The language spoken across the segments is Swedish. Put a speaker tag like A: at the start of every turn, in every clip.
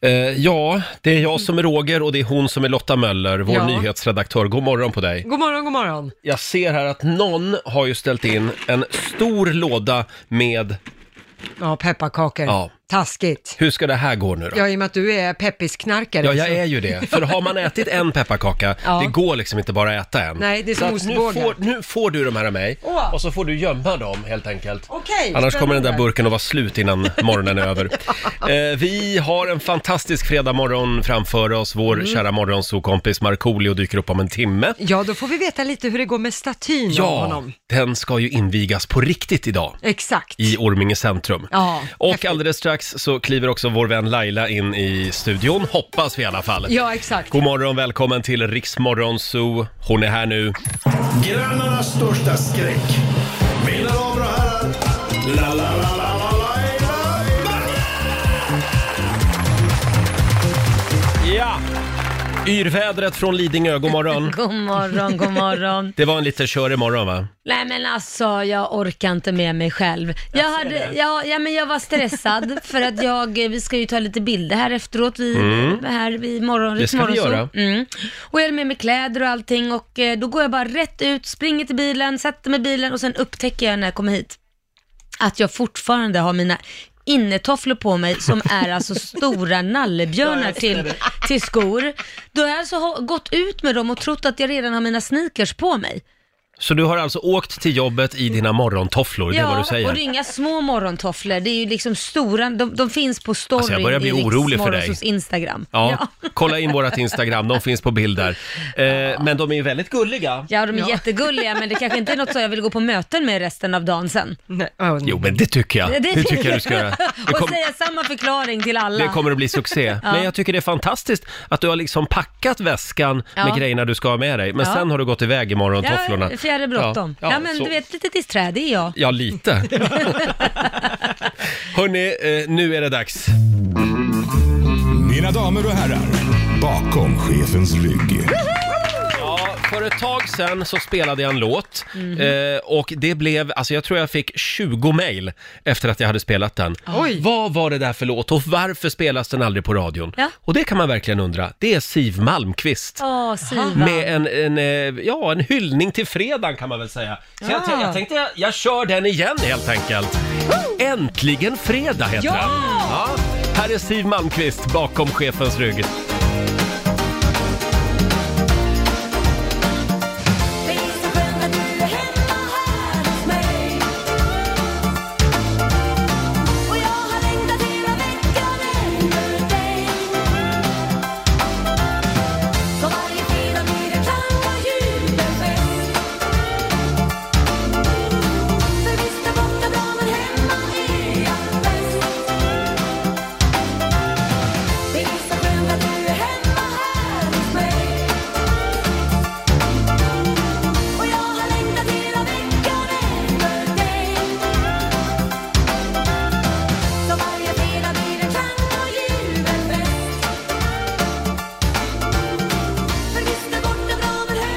A: Eh, ja, det är jag som är Roger och det är hon som är Lotta Möller, vår
B: Mm. Ja.
A: nyhetsredaktör. God morgon på dig.
B: God morgon, god morgon.
A: Jag ser här att någon har ju ställt in en stor låda med,
B: Ja, pepparkakor.
A: Ja.
B: Taskigt.
A: hur ska det här gå nu då?
B: Ja, i och med att du är peppisknarkare.
A: Ja, jag
B: så-
A: är ju det. För har man ätit en pepparkaka,
B: Ja.
A: det går liksom inte bara att äta en.
B: Nej, det är
A: Så
B: som
A: att nu
B: ostbågar.
A: får, nu får du de här av mig
B: Åh.
A: och så får du gömma dem helt enkelt.
B: Okej.
A: Annars kommer den där
B: spännande.
A: burken att vara slut innan morgonen är över. Eh, vi har en fantastisk fredagmorgon framför oss. Vår
B: Mm.
A: kära morgonsokompis Markoolio dyker upp om en timme.
B: Ja, då får vi veta lite hur det går med statyn av
A: Ja,
B: honom.
A: den ska ju invigas på riktigt idag
B: Exakt.
A: i Orminge centrum.
B: Ja,
A: Och
B: häftigt.
A: alldeles strax så kliver också vår vän Laila in i studion, hoppas vi i alla fall.
B: Ja, exakt.
A: God morgon, välkommen till Riksmorgon Zoo. Hon är här nu.
C: Grannarnas största skräck. Mina damer och herrar. La, la, la, la, la, la, la, la.
A: Ja! Yrvädret från Lidingö, god morgon.
D: God morgon, god morgon.
A: Det var en lite kör imorgon va?
D: Nej men alltså, jag orkar inte med mig själv. Jag, hade, ja, ja, men jag var stressad för att jag, eh, vi ska ju ta lite bilder här efteråt, vi, här vid morgon,
A: Mm. Det ska vi
D: morgon,
A: göra.
D: Så. Mm. Och jag hade med mig kläder och allting och eh, då går jag bara rätt ut, springer till bilen, sätter mig i bilen och sen upptäcker jag när jag kommer hit att jag fortfarande har mina innetofflor på mig som är alltså stora nallebjörnar till, till skor. Då har jag alltså ha- gått ut med dem och trott att jag redan har mina sneakers på mig.
A: Så du har alltså åkt till jobbet i dina morgontofflor, det är vad du säger?
D: och det är inga små morgontofflor. Det är ju liksom stora, de, de finns på storyn
A: Alltså, jag börjar bli
D: i
A: orolig för dig.
D: Riksmorgonsos Instagram.
A: Ja, kolla in vårt Instagram, de finns på bild där. Eh, men de är ju väldigt gulliga.
D: Ja, de är jättegulliga, men det kanske inte är något som jag vill gå på möten med resten av dagen sen.
B: Nej, ja,
A: Jo, men det tycker jag. Det tycker jag du ska göra. Det,
D: Och
A: kom,
D: säga samma förklaring till alla.
A: det kommer att bli succé. Men jag tycker det är fantastiskt att du har liksom packat väskan med
D: Ja.
A: grejerna du ska ha med dig, men
D: Ja.
A: sen har du gått iväg i morgontofflorna.
D: Ja, fjärde bråttom. Ja, men
A: så-
D: du vet, lite disträ, det är jag.
A: Ja, lite. Hörni, eh, nu är det dags.
C: Mina damer och herrar. Bakom chefens rygg.
A: Ja, för ett tag sedan så spelade jag en låt
D: Mhm.
A: eh, och det blev, alltså jag tror jag fick 20 mejl efter att jag hade spelat den.
D: Ah.
B: Oj.
A: Vad var det där för låt och varför spelas den aldrig på radion?
D: Ja.
A: Och det kan man verkligen undra. Det är Siv Malmqvist.
D: Åh, Siva.
A: Med en, en, eh, ja, en hyllning till fredagen kan man väl säga. Så jag, tän- jag tänkte jag, jag kör den igen helt enkelt. Äntligen fredag heter
D: Ja!
A: den. Ja! Här är Siv Malmqvist bakom chefens rygg.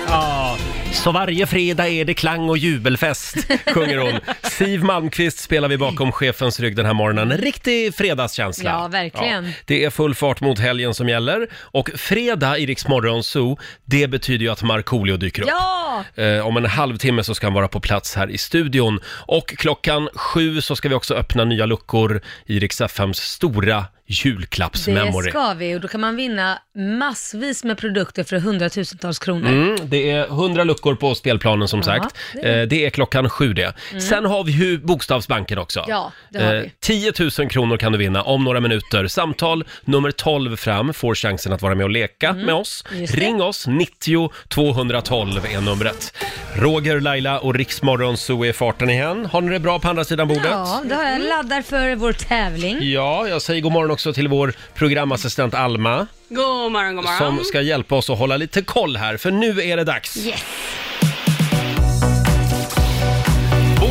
A: Ja, så varje fredag är det klang och jubelfest, sjunger hon. Siv Malmqvist spelar vi bakom chefens rygg den här morgonen. En riktig fredagskänsla.
D: Ja, verkligen.
A: det är full fart mot helgen som gäller. Och fredag i Rix Morgon Zoo, det betyder ju att Markoolio dyker upp.
D: Ja!
A: Eh, Om en halvtimme så ska han vara på plats här i studion. Och klockan sju så ska vi också öppna nya luckor i Rix FMs stora
D: Det
A: julklappsmemory.
D: ska vi och då kan man vinna massvis med produkter för hundratusentals kronor.
A: Mm, det är 100 luckor på spelplanen som
D: Ja,
A: sagt.
D: det Mm.
A: Det är, det är klockan sju det. Sen har vi ju Bokstavsbanken också.
D: Ja, det har vi.
A: 10 000 kronor kan du vinna om några minuter. Samtal nummer 12 fram får chansen att vara med och leka med oss.
D: Mm. just det.
A: Ring oss, 90 212 är numret. Roger, Laila och Riksmorgon så är farten igen. Har ni det bra på andra sidan bordet?
D: Ja, då har jag laddar för vår tävling.
A: Ja, jag säger god morgon också till vår programassistent Alma
E: God morgon, god morgon.
A: som ska hjälpa oss att hålla lite koll här, för nu är det dags.
D: Yes.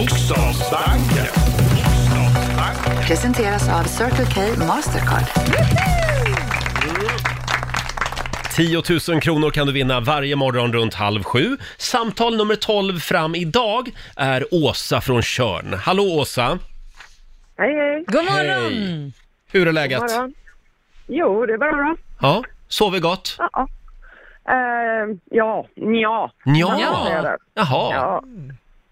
C: Bokstavsbanken.
F: Presenteras av Circle K Mastercard.
A: 10 000 kronor kan du vinna varje morgon runt halv sju. Samtal nummer 12 fram idag är Åsa från Körn. Hallå Åsa!
G: Hej, hej.
D: God morgon!
A: Hej. Hur är läget?
G: morgon.
E: Jo, det är bra.
A: Ja, sover gott?
E: Ja. Uh, ja, nja.
A: Ja.
E: Ja.
A: Jaha.
E: Ja,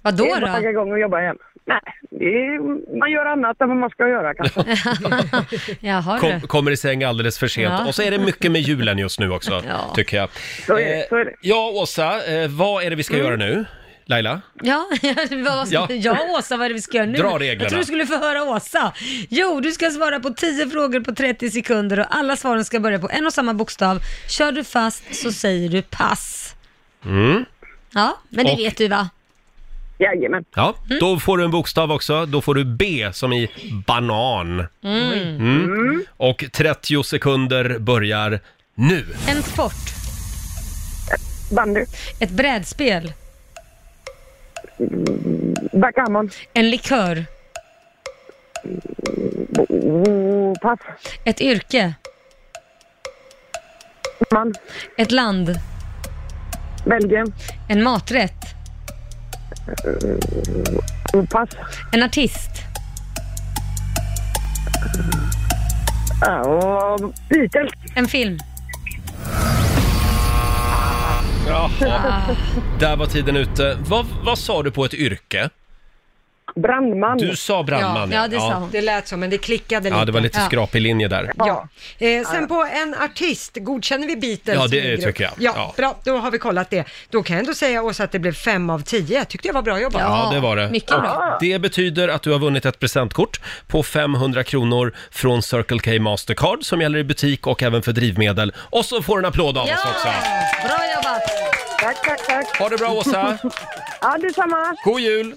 D: Vad
E: det
D: då?
E: är bara att tagga
D: då?
E: igång och jobba igen. Nej, det är, man gör annat än vad man ska göra kanske.
D: Jaha
A: Kom,
D: du.
A: kommer i säng alldeles för sent.
D: Ja.
A: Och så är det mycket med julen just nu också,
D: Ja.
A: tycker jag.
E: Så är det,
A: Eh,
E: så är det. Mm.
A: Ja, Åsa, eh, vad är det vi ska göra nu? Laila?
D: Ja,
A: Ja.
D: vad, ja. ja, Åsa, vad är det vi ska göra nu?
A: Dra reglerna.
D: Jag tror du skulle få höra Åsa. Jo, du ska svara på 10 frågor på 30 sekunder och alla svaren ska börja på en och samma bokstav. Kör du fast så säger du pass. Ja, men det
A: Mm. Och-
D: vet du va?
E: Jajamän.
A: Ja,
D: Mm.
A: då får du en bokstav också. Då får du B som i banan. Mm. Och 30 sekunder börjar nu.
D: En sport,
E: Bandy,
D: ett brädspel,
E: backgammon,
D: en likör,
E: oh, pass,
D: ett yrke,
E: man,
D: ett land,
E: Belgien,
D: en maträtt,
E: oh, pass.
D: en artist,
E: Ja, och Beatles,
D: en film.
A: Där var tiden ute. Vad, vad sa du på ett yrke?
E: brandman.
A: Du sa brandman.
D: Oh. Ja, det sa hon.
B: Det lät så, men det klickade lite.
A: Ja, det var lite
D: Ja.
A: skrapig linje där.
B: Ja. Eh, sen på en artist, godkänner vi Beatles?
A: Ja, det
B: som en grupp?
A: tycker jag.
B: Ja,
A: Ja.
B: bra, då har vi kollat det. Då kan jag ändå säga Åsa att det blev fem av tio. Jag tyckte jag var bra jobbat.
A: Ja, det var det.
D: Mycket bra.
A: Och det betyder att du har vunnit ett presentkort på 500 kronor från Circle K Mastercard som gäller i butik och även för drivmedel. Och så får du en applåd av
D: Ja,
A: oss också.
D: bra jobbat.
E: Tack, tack, tack.
A: Ha det bra Åsa!
E: Ja, detsamma.
A: God jul!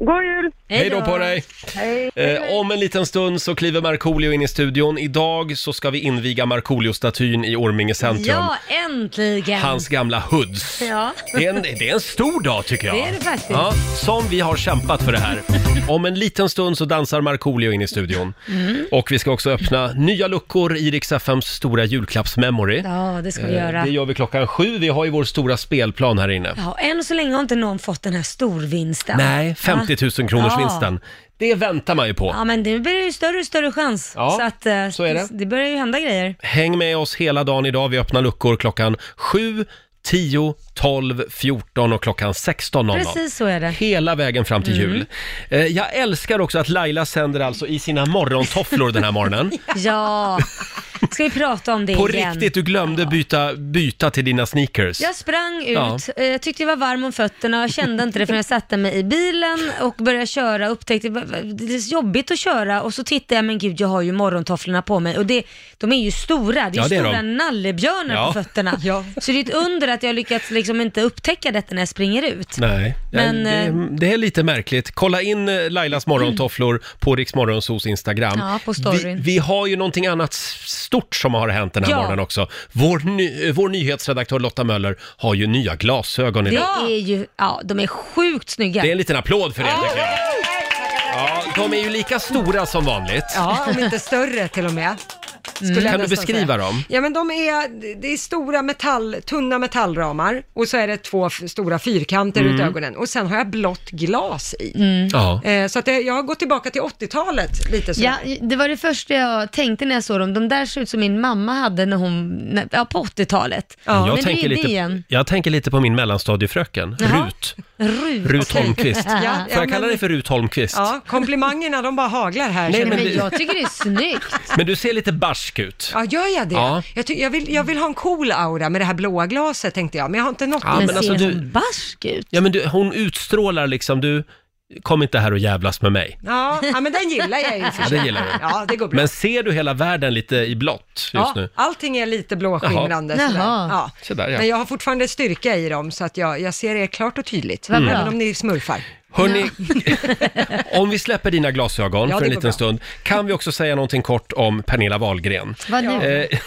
E: God jul!
A: Hej då på dig!
E: Hej.
A: Eh, om en liten stund så kliver Markoolio in i studion. Idag så ska vi inviga Markoolio-statyn i Orminge centrum.
D: Ja, äntligen.
A: Hans gamla hoods.
D: Ja.
A: Det, är en, det är en stor dag tycker jag.
D: Det är det faktiskt.
A: Ja, som vi har kämpat för det här. Om en liten stund så dansar Markoolio in i studion.
D: Mm.
A: Och vi ska också öppna nya luckor i Rix FMs stora julklappsmemory.
D: Ja, det ska vi
A: Eh,
D: göra.
A: Det gör vi klockan sju. Vi har ju vår stora spelplan här inne.
D: Ja, än så länge har inte någon fått den här storvinsten.
A: Nej, 50 000 kronors
D: Ja.
A: vinsten. Det väntar man ju på.
D: Ja, men det blir ju större och större chans.
A: Ja,
D: så att, eh,
A: så är det.
D: det börjar ju hända grejer.
A: Häng med oss hela dagen idag. Vi öppnar luckor klockan 7, 10, 12, 14 och klockan 16.00.
D: Precis så är det. Mm.
A: Hela vägen fram till jul. Eh, Jag älskar också att Laila sänder alltså i sina morgontofflor den här morgonen.
D: Ja, ska vi prata om det
A: På
D: igen?
A: riktigt, du glömde byta, byta till dina sneakers.
D: Jag sprang ut,
A: Ja.
D: eh, jag tyckte jag var varm om fötterna, jag kände inte det förrän jag satte mig i bilen och började köra, upptäckte att det är så jobbigt att köra och så tittade jag, men gud jag har ju morgontofflorna på mig och det, de är ju stora, det är
A: Ja,
D: ju
A: det är
D: stora
A: de.
D: nallebjörnar
A: Ja.
D: på fötterna.
B: Ja.
D: Så det är ett under att jag lyckats liksom inte upptäcka detta när jag springer ut.
A: Nej,
D: Men,
A: det,
D: eh,
A: är- det är lite märkligt. Kolla in eh, Lailas morgontofflor på Rix Morgonzos Instagram.
D: Ja, på
A: vi,
D: storyn.
A: vi har ju någonting annat stort som har hänt den här
D: Ja.
A: morgonen också. Vår, ny, eh, vår nyhetsredaktör Lotta Möller har ju nya glasögon
D: Det
A: idag.
D: är ju, ja de är sjukt snygga.
A: Det är en liten applåd för det tycker jag. Ja, de är ju lika stora som vanligt.
B: Ja, om inte större till och med. Skulle jag
A: Mm. Kan du
B: nästan
A: beskriva
B: säga.
A: dem?
B: Ja, men de är, det är stora metall, tunna metallramar och så är det två f- stora fyrkanter runt
A: Mm.
B: ögonen och sen har jag blått glas i.
D: Mm.
A: Ja.
B: Eh, så att det, jag har gått tillbaka till 80-talet lite så.
D: Ja, det var det första jag tänkte när jag såg dem. De där såg ut som min mamma hade när hon, när, ja, på 80-talet.
B: Ja,
D: men
A: Mm, Jag,
D: det
A: tänker
D: är det
A: lite,
D: igen.
A: jag tänker lite på min mellanstadiefröken,
D: Jaha.
A: Rut.
D: Rut.
A: Rut Holmqvist.
B: Ja, ja,
A: Får jag kalla
B: men-
A: dig för Rut Holmqvist?
B: Ja, komplimangerna de bara haglar här.
A: Nej,
B: känner
D: Men,
A: men
B: jag.
A: det-
D: jag tycker det är snyggt.
A: Men du ser lite barsk ut.
B: Ja, gör jag det?
A: Ja.
B: Jag, ty- jag, vill, jag vill ha en cool aura med det här blåa glaset tänkte jag, men jag har inte nått
A: Ja,
B: dit.
D: men
A: men alltså,
D: ser
A: du-
D: hon barsk ut?
A: Ja, men du, hon utstrålar liksom, du, kom inte här och jävlas med mig.
B: Ja, ja, men den gillar jag i och för
A: Ja,
B: sig.
A: det gillar du.
B: Ja, det går bra.
A: Men ser du hela världen lite i blått just
B: Ja,
A: nu?
B: allting är lite blåskimrande.
D: Jaha.
B: sådär.
D: Jaha.
B: Ja.
A: Sådär, ja.
B: Men jag har fortfarande styrka i dem, så att jag, jag ser er klart och tydligt.
D: Vad bra.
B: Även om ni smurfar.
A: Hörni, om vi släpper dina glasögon
B: Ja,
A: för
B: det
A: en
B: går
A: liten
B: bra.
A: stund, kan vi också säga någonting kort om Pernilla Wahlgren?
D: Vad nu?
A: Eh,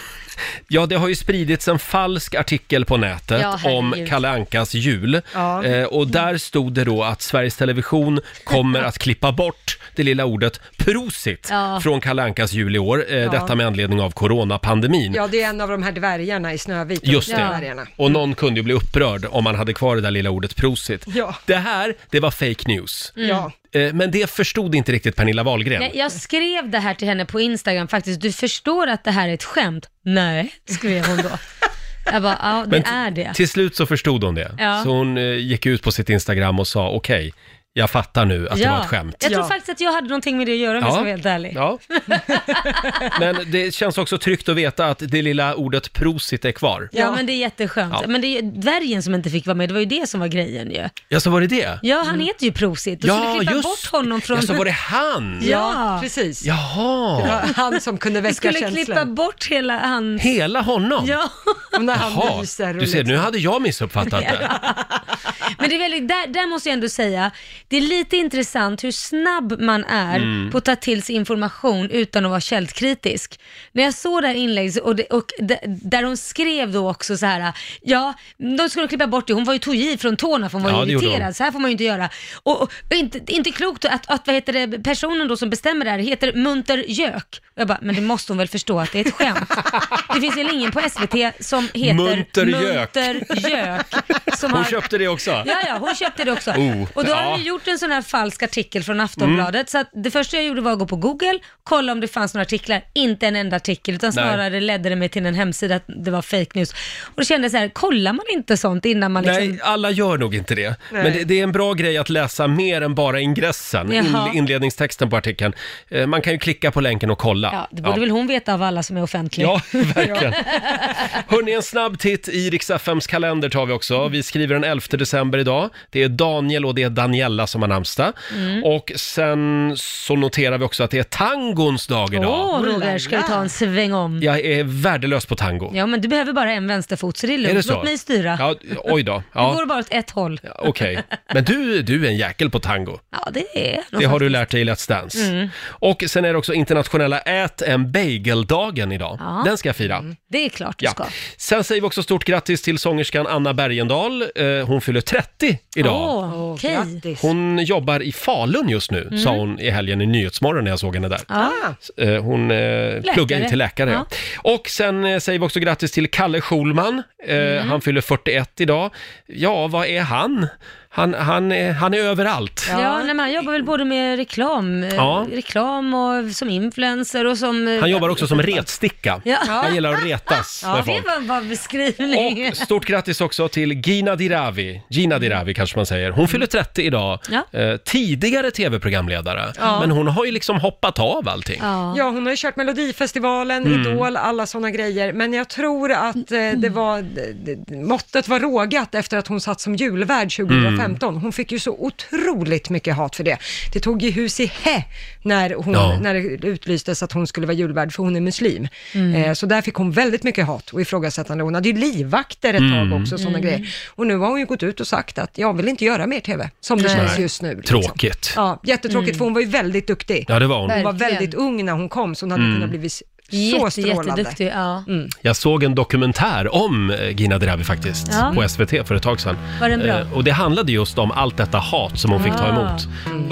A: ja, det har ju spridits en falsk artikel på nätet
D: Ja, herregud.
A: om Kalle Ankas jul.
B: Ja.
A: Eh, och där stod det då att Sveriges Television kommer att klippa bort det lilla ordet prosit
D: Ja.
A: från Kalle Ankas jul i år. Eh, Detta med anledning av coronapandemin.
B: Ja, det är en av de här dvärgarna i Snövit. de
A: Just
B: här
A: det.
B: dvärgarna.
A: Och någon kunde ju bli upprörd om man hade kvar det där lilla ordet prosit.
B: Ja.
A: Det här, det var fake news.
B: Ja.
A: Eh, Men det förstod inte riktigt Pernilla Wahlgren.
D: Mm. Nej, jag skrev det här till henne på Instagram faktiskt. Du förstår att det här är ett skämt? Nej, skrev hon då. Jag bara, ja det
A: Men
D: är det.
A: Till slut så förstod hon det.
D: Ja.
A: Så hon eh, gick ut på sitt Instagram och sa okej, jag fattar nu att det var ett skämt.
D: Jag tror
B: Ja.
D: faktiskt att jag hade någonting med det att göra om jag ska vara helt ärlig.
A: Ja. Men det känns också tryggt att veta att det lilla ordet prosit är kvar.
D: Ja, men det är jätteskönt.
A: Ja.
D: Men det är ju dvärgen som inte fick vara med, det var ju det som var grejen ju.
A: Ja, så var det det?
D: Ja, han heter ju Prosit. Du skulle klippa bort honom från...
A: Ja, så var det han!
D: Ja.
B: precis.
A: Jaha!
B: Ja, Han som kunde
D: Du
B: väcka
D: skulle klippa
B: känslor.
D: bort hela hans...
A: Hela honom?
D: Ja,
B: Och när han
A: Jaha,
B: lyser och
A: du ser,
B: liksom-
A: nu hade jag missuppfattat det.
D: men det är väldigt, där, där måste jag ändå säga, det är lite intressant hur snabb man är
A: Mm.
D: på att ta till sig information utan att vara källkritisk. När jag såg det här inlägget och, det, och d- där hon skrev då också så här, ja, de skulle klippa bort det, hon var ju tog i från tårna för hon var
A: Ja,
D: ju
A: det gjorde hon.
D: irriterad. Så här får man ju inte göra. Och, och inte, inte klokt att, att vad heter det, personen då som bestämmer det här heter Munter Jök. Jag bara, men det måste hon väl förstå att det är ett skämt. Det finns väl ingen på SVT som heter
A: Munter Jök.
D: Munter Jök som
A: Hon
D: har...
A: köpte det också.
D: Ja, ja, hon köpte det också.
A: Oh,
D: och då har
A: ja. Mm.
D: hon ju gjort en sån här falsk artikel från Aftonbladet. Så att det första jag gjorde var att gå på Google, kolla om det fanns några artiklar. Inte en enda artikel, utan
A: Nej.
D: snarare ledde det mig till en hemsida att det var fake news. Och då kände jag så här, kollar man inte sånt innan man liksom
A: Nej, alla gör nog inte det.
B: Nej.
A: Men det, det är en bra grej att läsa mer än bara ingressen,
D: Jaha.
A: in, inledningstexten på artikeln. Eh, Man kan ju klicka på länken och kolla.
D: Ja, det borde väl hon veta av alla som är offentliga.
A: Ja, verkligen. Hörni, en snabb titt i riks FMs kalender tar vi också. Vi skriver den 11 december idag. Det är Daniel och det är Daniela som har namnsdag.
D: Mm.
A: Och sen så noterar vi också att det är tangons dag
D: Åh,
A: idag.
D: Roger, ska vi ta en sväng om?
A: Jag är värdelös på tango.
D: Ja, men du behöver bara en vänsterfot, så det är lugnt.
A: Är det så?
D: Låt mig styra.
A: Ja, oj då.
D: Det
A: Ja,
D: går bara åt ett håll. Ja,
A: Okej, men du, du är en jäkel på tango.
D: det är
A: Det har du lärt dig i Let's Dance.
D: Mm.
A: Och sen är det också internationella ät en bageldagen idag.
D: Ja.
A: Den ska jag fira.
D: Det är klart du ska.
A: Ja. Sen säger vi också stort grattis till sångerskan Anna Bergendahl. Eh, Hon fyller 30 idag.
D: Åh, okej.
B: Grattis.
A: Hon jobbar i Falun just nu,
D: Mm.
A: sa hon i helgen i Nyhetsmorgon när jag såg henne där.
B: Ah,
A: Eh, Hon eh, pluggar ju till läkare. Ja. Och sen eh, säger vi också grattis till Kalle Schulman. Eh,
D: Mm.
A: Han fyller 41 idag. Ja, vad är han? Han, han, är, han är överallt.
D: Ja, nej, men han jobbar väl både med reklam, eh,
A: Ja.
D: reklam och som influencer och som... eh,
A: Han jobbar också som retsticka.
D: Ja.
A: Han gillar att retas med
D: Det
A: folk.
D: var en bra beskrivning.
A: Och stort grattis också till Gina Dirawi. Gina Dirawi kanske man säger. Hon fyller 30 idag.
D: Ja.
A: Eh, tidigare tv-programledare. Men hon har ju liksom hoppat av allting.
D: Ja.
B: ja, hon har ju kört Melodifestivalen,
A: Mm.
B: Idol, alla sådana grejer. Men jag tror att eh, det var, d- d- måttet var rågat efter att hon satt som julvärd 2015.
A: Mm.
B: Hon fick ju så otroligt mycket hat för det. Det tog ju hus i hä när, hon,
A: Ja.
B: när det utlystes att hon skulle vara julvärd för hon är muslim. Eh, så där fick hon väldigt mycket hat och ifrågasättande. Hon hade ju livvakter ett tag
A: Mm.
B: också, sådana grejer. Och nu har hon ju gått ut och sagt att jag vill inte göra mer tv, som det känns just nu. liksom.
A: Tråkigt.
B: Ja, jättetråkigt för hon var ju väldigt duktig.
A: Ja, det var hon.
B: Hon var
D: Verkligen.
B: väldigt ung när hon kom, så hon
A: Mm.
B: hade kunnat blivit så
D: Jätte,
B: strålande.
D: jätteduktig. Ja.
A: Jag såg en dokumentär om eh, Gina Dirawi faktiskt,
D: Ja.
A: på SVT för ett tag sedan.
D: Var den bra?
A: Eh, och det handlade just om allt detta hat som hon fick ta
D: Ah.
A: emot.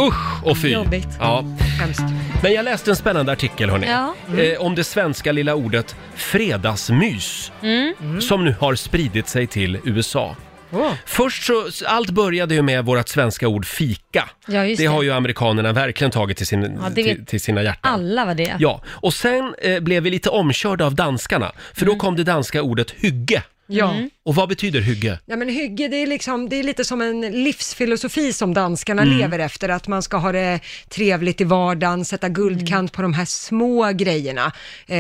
A: Usch och fy!
D: Jobbigt.
A: Ja.
B: Hemskt.
A: Men jag läste en spännande artikel hörni,
D: Ja. Mm.
A: eh, om det svenska lilla ordet fredagsmys,
D: Mm.
A: som nu har spridit sig till USA. Först så, allt började ju med vårt svenska ord fika.
D: Ja, just
A: det har
D: det.
A: ju amerikanerna verkligen tagit till, sin,
D: Ja, det vet
A: till, till sina hjärtan.
D: Alla var det.
A: Ja, och sen eh, blev vi lite omkörda av danskarna, för då kom det danska ordet hygge.
B: Ja.
A: Och vad betyder hygge?
B: ja, men hygge, det är, liksom, det är lite som en livsfilosofi som danskarna
A: Mm.
B: lever efter, att man ska ha det trevligt i vardagen, sätta
D: Mm.
B: guldkant på de här små grejerna. Eh,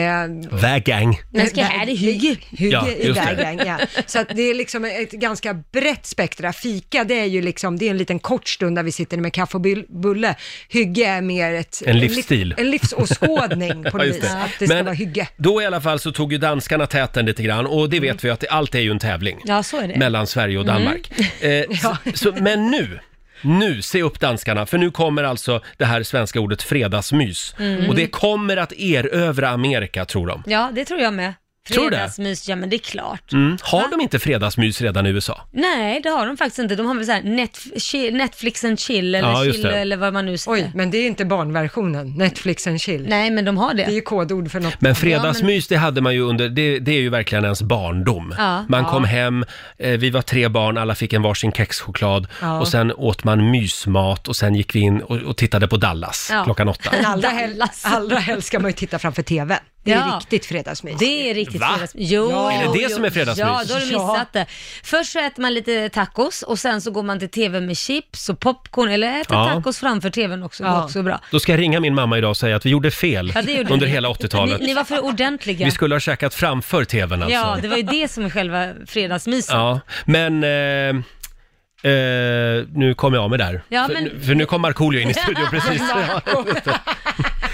A: Vägang.
D: Men ska här i hygge.
B: Hygge
A: Ja,
B: i
A: just det.
B: vägen, ja. Så att det är liksom ett ganska brett spektra. Fika, det är ju liksom, det är en liten kort stund där vi sitter med kaffe och bull- bulle. Hygge är mer ett...
A: En livsstil.
B: En, liv, en livsåskådning på
A: Ja,
B: något
A: just
B: vis.
A: det.
B: Att det ska vara hygge. Mm.
A: då i alla fall så tog ju danskarna täten lite grann och det vet vi att det, allt är ju en tävling.
D: Ja, så är det.
A: Mellan Sverige och Danmark.
B: Mm.
A: Eh, så, så, men nu, nu, se upp danskarna, för nu kommer alltså det här svenska
B: Mm.
A: ordet fredagsmys. Och det kommer att erövra Amerika, tror de.
D: Ja, det tror jag med.
A: Tror du det?
D: Fredagsmys, ja men det är klart.
A: Mm. Har de inte fredagsmys redan i USA?
D: Nej, det har de faktiskt inte. De har väl såhär Netf- chi- Netflix and chill eller
A: Ja, just
D: chill
A: det.
D: eller vad man nu säger.
B: Oj, men det är inte barnversionen, Netflix and chill.
D: Eh. Nej, men de har
B: Det är
D: det.
B: ju kodord för något.
A: Men fredagsmys, det hade man ju under, det, det är ju verkligen ens barndom.
D: Ja.
A: man kom hem, eh, vi var tre barn, alla fick en varsin kexchoklad
B: Ja.
A: och sen åt man mysmat och sen gick vi in och, och tittade på Dallas
D: Ja.
A: klockan åtta.
B: Men allra, hel-
D: Dallas.
B: allra helst ska man ju titta framför TV. Det är
D: Ja.
B: riktigt fredagsmys.
D: Det är riktigt
A: Va?
D: fredagsmys. Jo,
B: Ja.
A: Är det det
D: jo.
A: som är fredagsmys?
D: Ja, då har du missat det. Först så äter man lite tacos och sen så går man till TV med chips och popcorn eller äter
A: Ja.
D: tacos framför TVn också. Det är
B: Ja.
D: också bra.
A: Då ska jag ringa min mamma idag och säga att vi gjorde fel
D: Ja, det gjorde
A: under
D: ni.
A: hela 80-talet.
D: Ni, ni var för ordentliga.
A: Vi skulle ha käkat framför tvn alltså.
D: Ja, det var ju det som är själva fredagsmyset.
A: Ja, men... Eh... Eh, nu kom jag av mig där.
D: Ja,
A: för,
D: men-
A: nu- för nu kom Markoolio in i studion precis. Ja,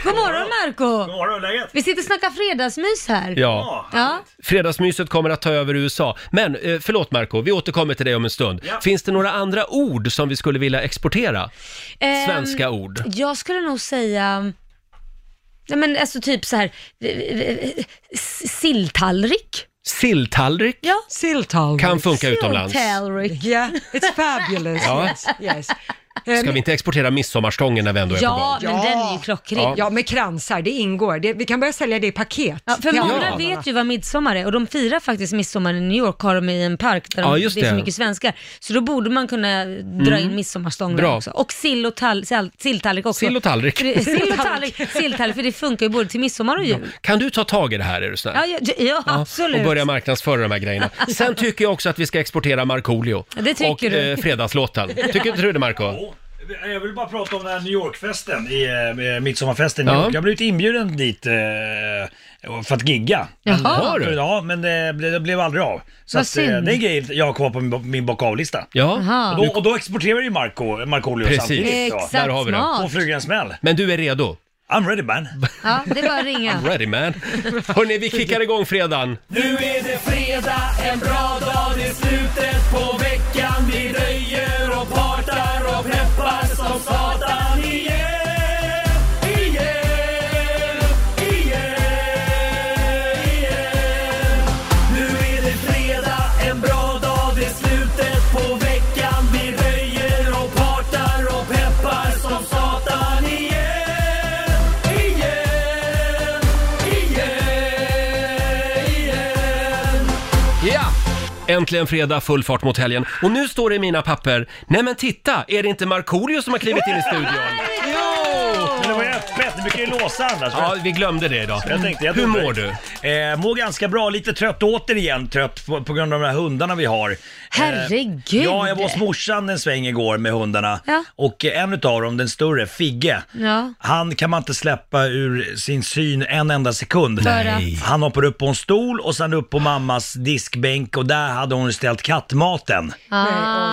D: God morgon Marco
G: morgon, läget?
D: Vi sitter och snackar fredagsmys här.
A: ja.
D: Ja.
A: Fredagsmyset kommer att ta över USA. Men eh, förlåt Marco, vi återkommer till dig om en stund.
G: Ja.
A: Finns det några andra ord som vi skulle vilja exportera?
D: Ehm,
A: Svenska ord.
D: Jag skulle nog säga, nej men alltså typ så här, eh, eh, s- silltallrik.
A: Silltallrik
D: Ja.
B: Silltal.
A: kan funka utomlands.
D: Silltallrik.
B: Yeah, it's fabulous.
A: Ja.
B: Yes, yes. Ehm,
A: Ska vi inte exportera midsommarstången när vi ändå är på
D: Ja,
A: gång?
D: men
B: Ja.
D: den är ju klockren.
A: Ja.
D: Ja.
B: Ja, med kransar, det ingår. Det, vi kan börja sälja det i paket.
D: för
B: till
D: många
B: alla.
D: vet ju vad midsommar är och de firar faktiskt midsommar i New York, har de i en park där de,
A: Ja, just
D: det är så
A: det. Mm.
D: mycket svenskar. Så då borde man kunna dra in midsommarstång
A: Bra.
D: där också. Och sill och tall, sill, silltallrik också.
A: Sill och tallrik.
D: För det- Sill och tallrik, silltallrik, för det funkar ju både till midsommar och jul.
A: Kan du ta tag i det här är du snäll?
D: Ja, ja, ja absolut.
A: och börja marknadsföra de här grejerna. Sen tycker jag också att vi ska exportera Markoolio.
D: Ja, det tycker
A: och
D: du.
A: Eh, fredagslåten. Tycker inte du det Marco?
G: Jag vill bara prata om den här New York-festen, i, eh, midsommarfesten i
A: Ja.
G: New York. Jag har blivit inbjuden dit eh, för att gigga.
D: Jaha.
G: Men-
A: Har du?
G: Ja, men det, ble- det blev aldrig av. Så
D: Vad
G: att, eh,
D: synd.
G: det är grejer jag har kvar på min, bo- min bocka-av-lista.
A: Ja,
D: Aha.
G: Och, då- och då exporterar ju Marco, Markoolio
A: Precis.
G: samtidigt. då.
D: Exakt
A: Där har vi det.
G: Två
D: smart.
G: flugor i en smäll.
A: men du är redo?
G: I'm ready man.
D: Ja, det är bara att ringa.
A: Ready man. Hörni, vi kickar igång fredagen.
H: Nu är det fredag, en bra dag, det är slutet på veckan Vi röjer och partar och peppar som satan Igen, igen, igen, igen Nu är det fredag, en bra dag, det är slutet på veckan Vi röjer och partar och peppar som satan Igen, igen, igen, igen
A: Ja! Äntligen fredag, full fart mot helgen. Och nu står det i mina papper, nej men titta, är det inte Markoolio som har klivit in i studion?
G: Men det var ju öppet, det brukar ju låsa annars.
A: Ja, vi glömde det idag.
G: Jag tänkte, jag
A: Hur
G: tog
A: mår
G: det.
A: du?
G: Eh, mår ganska bra, lite trött återigen trött på, på grund av de här hundarna vi har. Eh,
D: Herregud.
G: Ja, jag var hos morsan en sväng igår med hundarna
D: Ja.
G: och eh, en utav dem, den större, Figge,
D: Ja.
G: han kan man inte släppa ur sin syn en enda sekund.
D: För att-
G: Han hoppar upp på en stol och sen upp på mammas diskbänk och där hade hon ställt kattmaten.
D: Ah.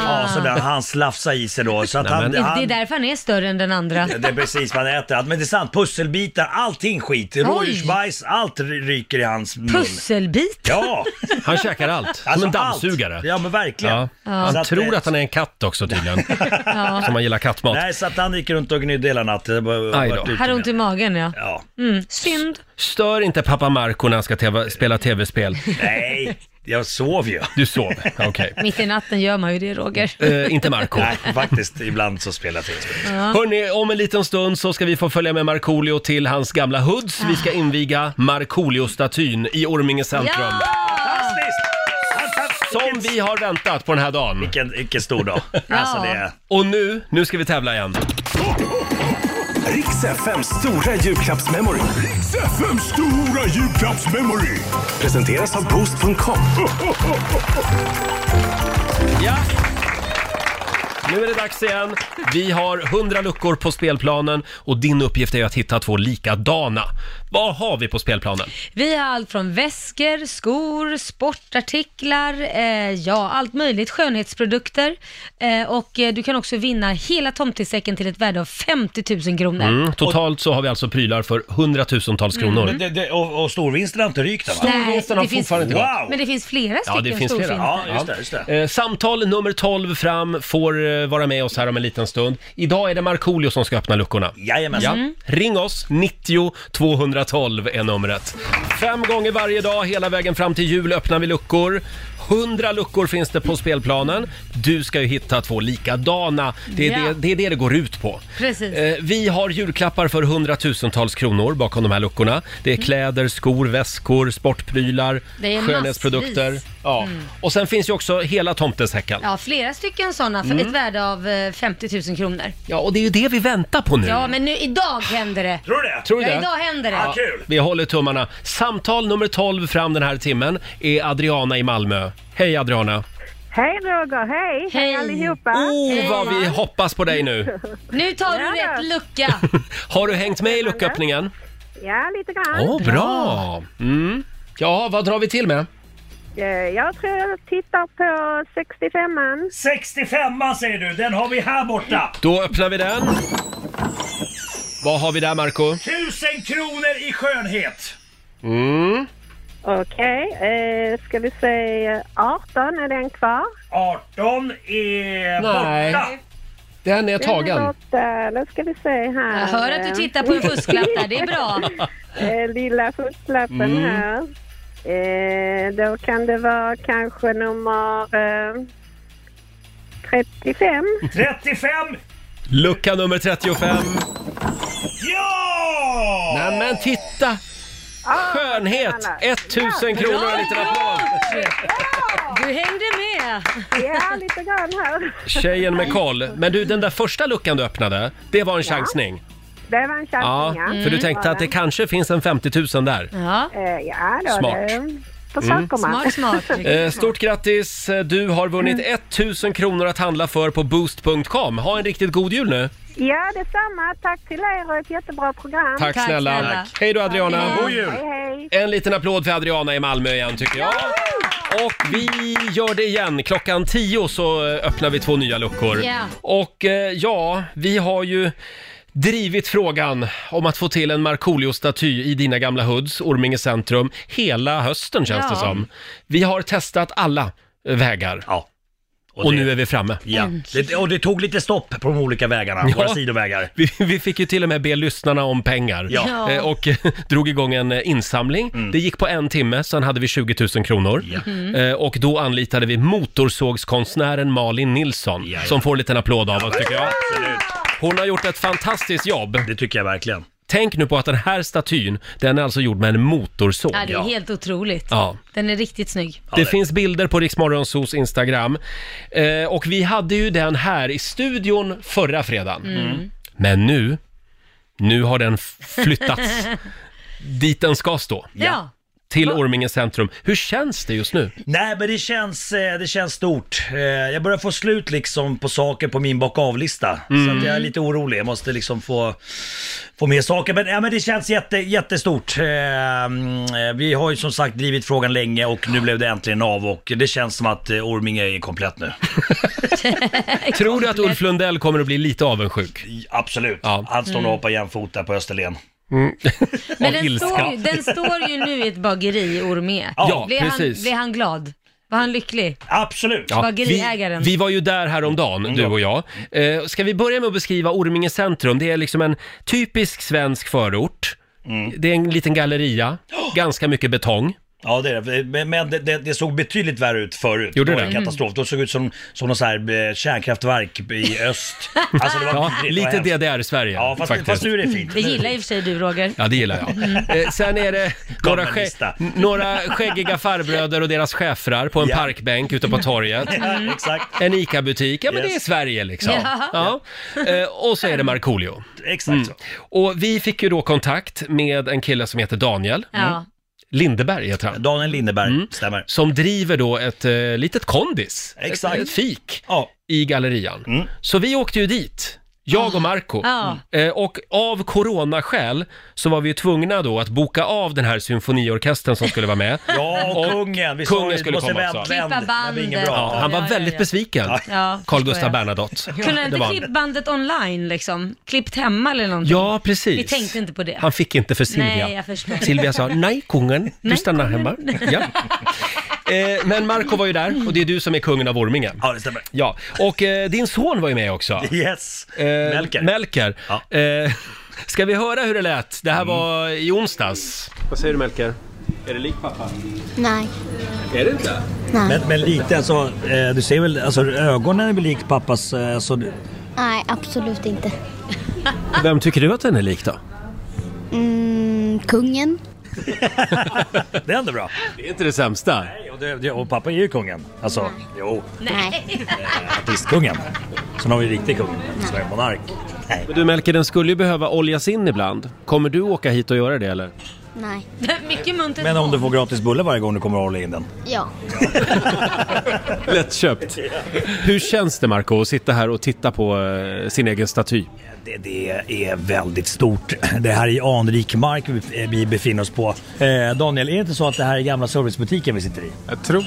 G: Ja, så där, han slafsade i sig då. Så att
A: Nej,
G: han,
A: men-
D: Det är
G: han,
D: därför han är större än den andra.
G: Ja, Det är precis vad han äter. Allt- Men det är sant, pusselbitar, allting skit. Rådjursbajs, allt ry- ryker i hans mun.
D: Pusselbit.
G: Ja,
A: Han käkar allt, som
G: alltså
A: en dammsugare.
G: Allt. Ja men verkligen.
A: Ja.
G: Så
A: Han tror
G: eh,
A: att han är en katt också tydligen, som han gillar kattmat.
G: Nej, så att han gick runt och gnydde hela natten. Det var-
A: Aj
G: varit
A: då.
G: ute
D: Hade
G: med.
D: ont i magen ja.
G: Ja.
D: Mm. Synd.
A: Stör inte pappa Marco när han ska teva- spela tv-spel.
G: Nej, jag sov ju.
A: Du sov, okej.
D: Mitt i natten gör man ju det Roger.
A: Eh, inte Marco.
G: Nej, faktiskt. Ibland så spelar jag tv-spel.
A: Hörni, om en liten stund så ska vi få följa med Markoolio till hans gamla hoods. Vi ska inviga Markoolio-statyn i Orminge centrum.
D: Ja!
G: Fantastiskt! Fantastiskt!
A: Som vi har väntat på den här dagen.
G: Vilken, vilken stor dag. Alltså det är...
A: Och nu, nu ska vi tävla igen.
C: Riks FMs stora julklappsmemory. Riks FMs stora julklappsmemory. Presenteras av Boost.com.
A: Ja! Nu är det dags igen. Vi har 100 luckor på spelplanen och din uppgift är att hitta två likadana. Vad har vi på spelplanen?
D: Vi har allt från väskor, skor, sportartiklar, eh, ja allt möjligt, skönhetsprodukter. Eh, och eh, du kan också vinna hela tomtesäcken till ett värde av 50 000 kronor.
A: Mm, totalt så har vi alltså prylar för hundratusentals kronor.
G: Mm, Men det, det, och, och storvinsten har inte rykt än va?
D: Nej,
A: Storvinsten har
D: det finns,
A: fortfarande inte gått.
G: Wow!
D: men det finns flera
A: Ja,
D: stycken
A: det finns flera.
D: storfynd.
G: Ja, just det. Just det.
A: Eh, samtal nummer 12 fram får eh, vara med oss här om en liten stund. Idag är det Markoolio som
D: Mm.
A: ska öppna luckorna.
G: Jajamensan.
A: Ja. Ring oss, 90 212 är numret. Fem gånger varje dag hela vägen fram till jul öppnar vi luckor. Hundra luckor finns det på spelplanen. Du ska ju hitta två likadana. Det är,
D: Ja.
A: det, det, är det det går ut på.
D: Precis.
A: Eh, Vi har julklappar för hundratusentals kronor bakom de här luckorna. Det är kläder, skor, väskor, sportprylar,
D: Mm. Det är
A: skönhetsprodukter.
D: massvis. Mm.
A: Ja. Och sen finns ju också hela tomteshäcken. Ja.
D: Ja, flera stycken sådana för
A: Mm.
D: ett värde av eh, 50 000 kronor.
A: och det är ju det vi väntar på nu.
D: Ja, men nu idag händer det.
G: Tror du det?
A: Tror du
D: Ja,
A: det?
D: idag händer det.
G: Ja, kul!
A: Vi håller tummarna. Samtal nummer 12 fram den här timmen är Adriana i Malmö. Hej Adriana!
E: Hej Roger, hej!
D: Hej.
E: allihopa!
A: Oh, vad vi hoppas på dig nu!
D: Nu tar du
E: Ja.
D: rätt lucka.
A: Har du hängt med i lucköppningen?
E: Ja, lite grann.
A: Åh, bra! Mm. Ja, vad drar vi till med?
E: Eh, Jag tror jag tittar på 65an.
G: 65 säger du, den har vi här borta.
A: Då öppnar vi den. Vad har vi där, Marco?
G: 1000 kronor i skönhet.
A: Mm.
E: Okej, eh, ska vi se 18, är den kvar?
G: 18 är
A: Nej.
G: borta.
A: Den är
E: Den är
A: tagen.
E: borta. Nu ska vi se här.
D: Jag hör att du tittar på en fusklapp där, det är bra.
E: Eh, Lilla fusklappen
A: Mm.
E: här. Eh, Då kan det vara kanske nummer eh, 35.
G: 35.
A: Lucka nummer 35.
G: Ja!
A: Nej, men titta! Ah, Skönhet! 1000 kronor och en liten applåd!
D: Du hängde med.
E: Ja, lite grann här.
A: Tjejen med koll. Men du, den där första luckan du öppnade, det var en chansning.
E: Det var en
A: Ja, Mm.
E: chansning, ja.
A: för du tänkte att det kanske finns en 50 000 där.
D: Ja,
E: Eh, Ja, då
A: Smart. Mm.
E: det. Försöker man.
D: smart, smart.
A: Eh, Stort grattis! Eh, Du har vunnit 1000 kronor att handla för på boost.com. Ha en riktigt god jul nu!
E: Ja, detsamma. Tack till er och ett jättebra program.
A: Tack,
D: Tack
A: snälla!
D: snälla.
A: Hej då Adriana!
G: God jul!
E: Hej, hej.
A: En liten applåd för Adriana i Malmö igen tycker jag. Och vi gör det igen. Klockan 10 så eh, öppnar vi två nya luckor.
D: Ja.
A: Och eh, ja, vi har ju drivit frågan om att få till en Markoolio-staty i dina gamla hoods, Orminge centrum, hela hösten känns
D: Ja.
A: det som. Vi har testat alla eh, vägar
G: Ja.
A: och
G: det-
A: nu är vi framme.
G: Ja, det, och det tog lite stopp på de olika vägarna,
A: Ja.
G: våra sidovägar.
A: Vi, vi fick ju till och med be lyssnarna om pengar
G: Ja. Mm.
D: Ja.
A: Eh, och drog igång en eh, insamling. Det gick på en timme, sen hade vi 20 000 kronor.
G: Ja.
D: Mm.
A: Eh, Och då anlitade vi motorsågskonstnären Malin Nilsson,
G: Ja, ja.
A: som får en liten applåd av oss tycker jag.
G: Absolut.
A: Hon har gjort ett fantastiskt jobb.
G: Det tycker jag verkligen.
A: Tänk nu på att den här statyn, den är alltså gjord med en motorsåg.
D: Ja, det är
G: Ja.
D: helt otroligt.
A: Ja.
D: Den är riktigt snygg.
A: Det finns bilder på Riksmorgonsos Instagram. Eh, och vi hade ju den här i studion förra fredagen.
D: Mm.
A: Men nu, nu har den f- flyttats dit den ska stå.
D: Ja.
A: Till Orminge centrum. Hur känns det just nu?
G: Nej, men det känns, eh, det känns stort. Eh, Jag börjar få slut liksom på saker på min bocka av-lista. Så att jag är lite orolig. Jag måste liksom få, få mer saker. Men, ja, men det känns jätte, jättestort. Eh, mm, Vi har ju som sagt drivit frågan länge och nu blev det äntligen av och det känns som att eh, Orminge är komplett nu.
A: Tror du att Ulf Lundell kommer att bli lite avundsjuk?
G: Absolut.
A: Ja.
G: Han står nog och hoppar jämfota på Österlen.
D: Men
A: Av
D: den
A: ilska.
D: står, ju, den står ju nu i ett bageri i Orme.
A: Ja,
D: blir, han,
A: precis.
D: blir han glad? Var han lycklig?
G: Absolut.
A: Ja, vi,
D: Bageriägaren.
A: vi var ju där
D: Mm.
A: häromdagen, du och jag. Eh, ska vi börja med att beskriva Orminge centrum? Det är liksom en typisk svensk förort.
D: Mm.
A: Det är en liten galleria, ganska mycket betong.
G: Ja, det är det. Men- Men det, det, det såg betydligt värre ut förut.
A: Gjorde
G: det? var
A: det? Mm.
G: en katastrof. Då såg det ut som, som något så här eh, kärnkraftverk i öst. Alltså det var
A: Ja,
G: vidrigt,
A: lite
G: hemskt.
A: DDR-Sverige
G: Ja, fast,
A: faktiskt.
G: fast nu Mm. är det fint.
D: Det gillar i och för sig du Roger.
A: Ja, det gillar jag. Eh, sen är det några, skä
G: Gammalista.
A: n- några skäggiga farbröder och deras chefrar på en
G: Ja.
A: parkbänk ute på torget.
G: Ja, exakt.
A: En ICA-butik. Ja, men
G: Yes.
A: det är Sverige liksom.
D: Ja.
A: Ja. Eh, och så är det Markoolio.
G: Exakt
A: Mm.
G: så.
A: Och vi fick ju då kontakt med en kille som heter Daniel.
D: Ja.
A: Lindeberg heter han.
G: Daniel Lindeberg,
A: Mm.
G: stämmer.
A: Som driver då ett eh, litet kondis.
G: Exakt.
A: Ett, ett fik
G: Ja,
A: i gallerian.
G: Mm.
A: Så vi åkte ju dit.
G: Ah.
A: Jag och Marco
D: Ja.
A: Eh, Och av coronaskäl så var vi ju tvungna då att boka av den här symfoniorkestern som skulle vara med.
G: ja och,
A: Och
G: kungen. Vi
A: kungen
G: sa ju,
A: skulle
G: måste
A: komma
G: vända,
A: också.
G: vänd.
D: Klippa
G: Det här blir inget
D: bandet.
G: bra.
A: Ja, han var
D: Ja, ja,
A: väldigt
D: ja.
A: besviken,
D: Ja,
A: Carl
D: förstår jag.
A: Gustaf Bernadotte.
D: Kunde han
A: Det
D: inte
A: var
D: klippt
A: han.
D: bandet online liksom? Klippt hemma eller någonting?
A: Ja, precis.
D: Vi tänkte inte på det.
A: Han fick inte för Silvia.
D: Nej, jag förstår.
A: Silvia sa, nej kungen, du
D: Nej,
A: stannar
D: kungen."
A: hemma. Ja. Eh, men Marco var ju där och det är du som är kungen av Orminge.
G: Ja, det stämmer.
A: Ja, och eh, din son var ju med också.
G: Yes.
A: Eh,
G: Melker.
A: Melker.
G: Ja.
A: Eh, ska vi höra hur det lät? Det här var i onsdags. Vad säger du Melker? Mm. Är det lik pappa?
I: Nej.
A: Är det inte?
I: Nej.
G: Men, men lite alltså, eh, du ser väl, alltså ögonen är väl lik pappas, eh, alltså,
I: Nej, absolut inte.
A: Vem tycker du att den är lik då?
I: Mm, kungen?
G: det är ändå bra.
A: Det är inte det sämsta.
G: Nej, Och, det, det- och pappa är ju kungen. Alltså, jo, Eh,
I: Nej.
G: artistkungen. Sen har vi riktig kung, som är monark. Nej.
A: Men du Melke, den skulle ju behöva oljas in ibland. Kommer du åka hit och göra det eller?
I: Nej.
D: Mycket muntert.
G: Men om du får gratis bulle varje gång du kommer att hålla in den.
I: Ja.
A: Lättköpt. Hur känns det Marco att sitta här och titta på eh, sin egen staty?
G: Det, det är väldigt stort. Det här är anrik mark vi, vi befinner oss på. Eh, Daniel, är det inte så att det här är gamla servicebutiken vi sitter i?
J: Jag tror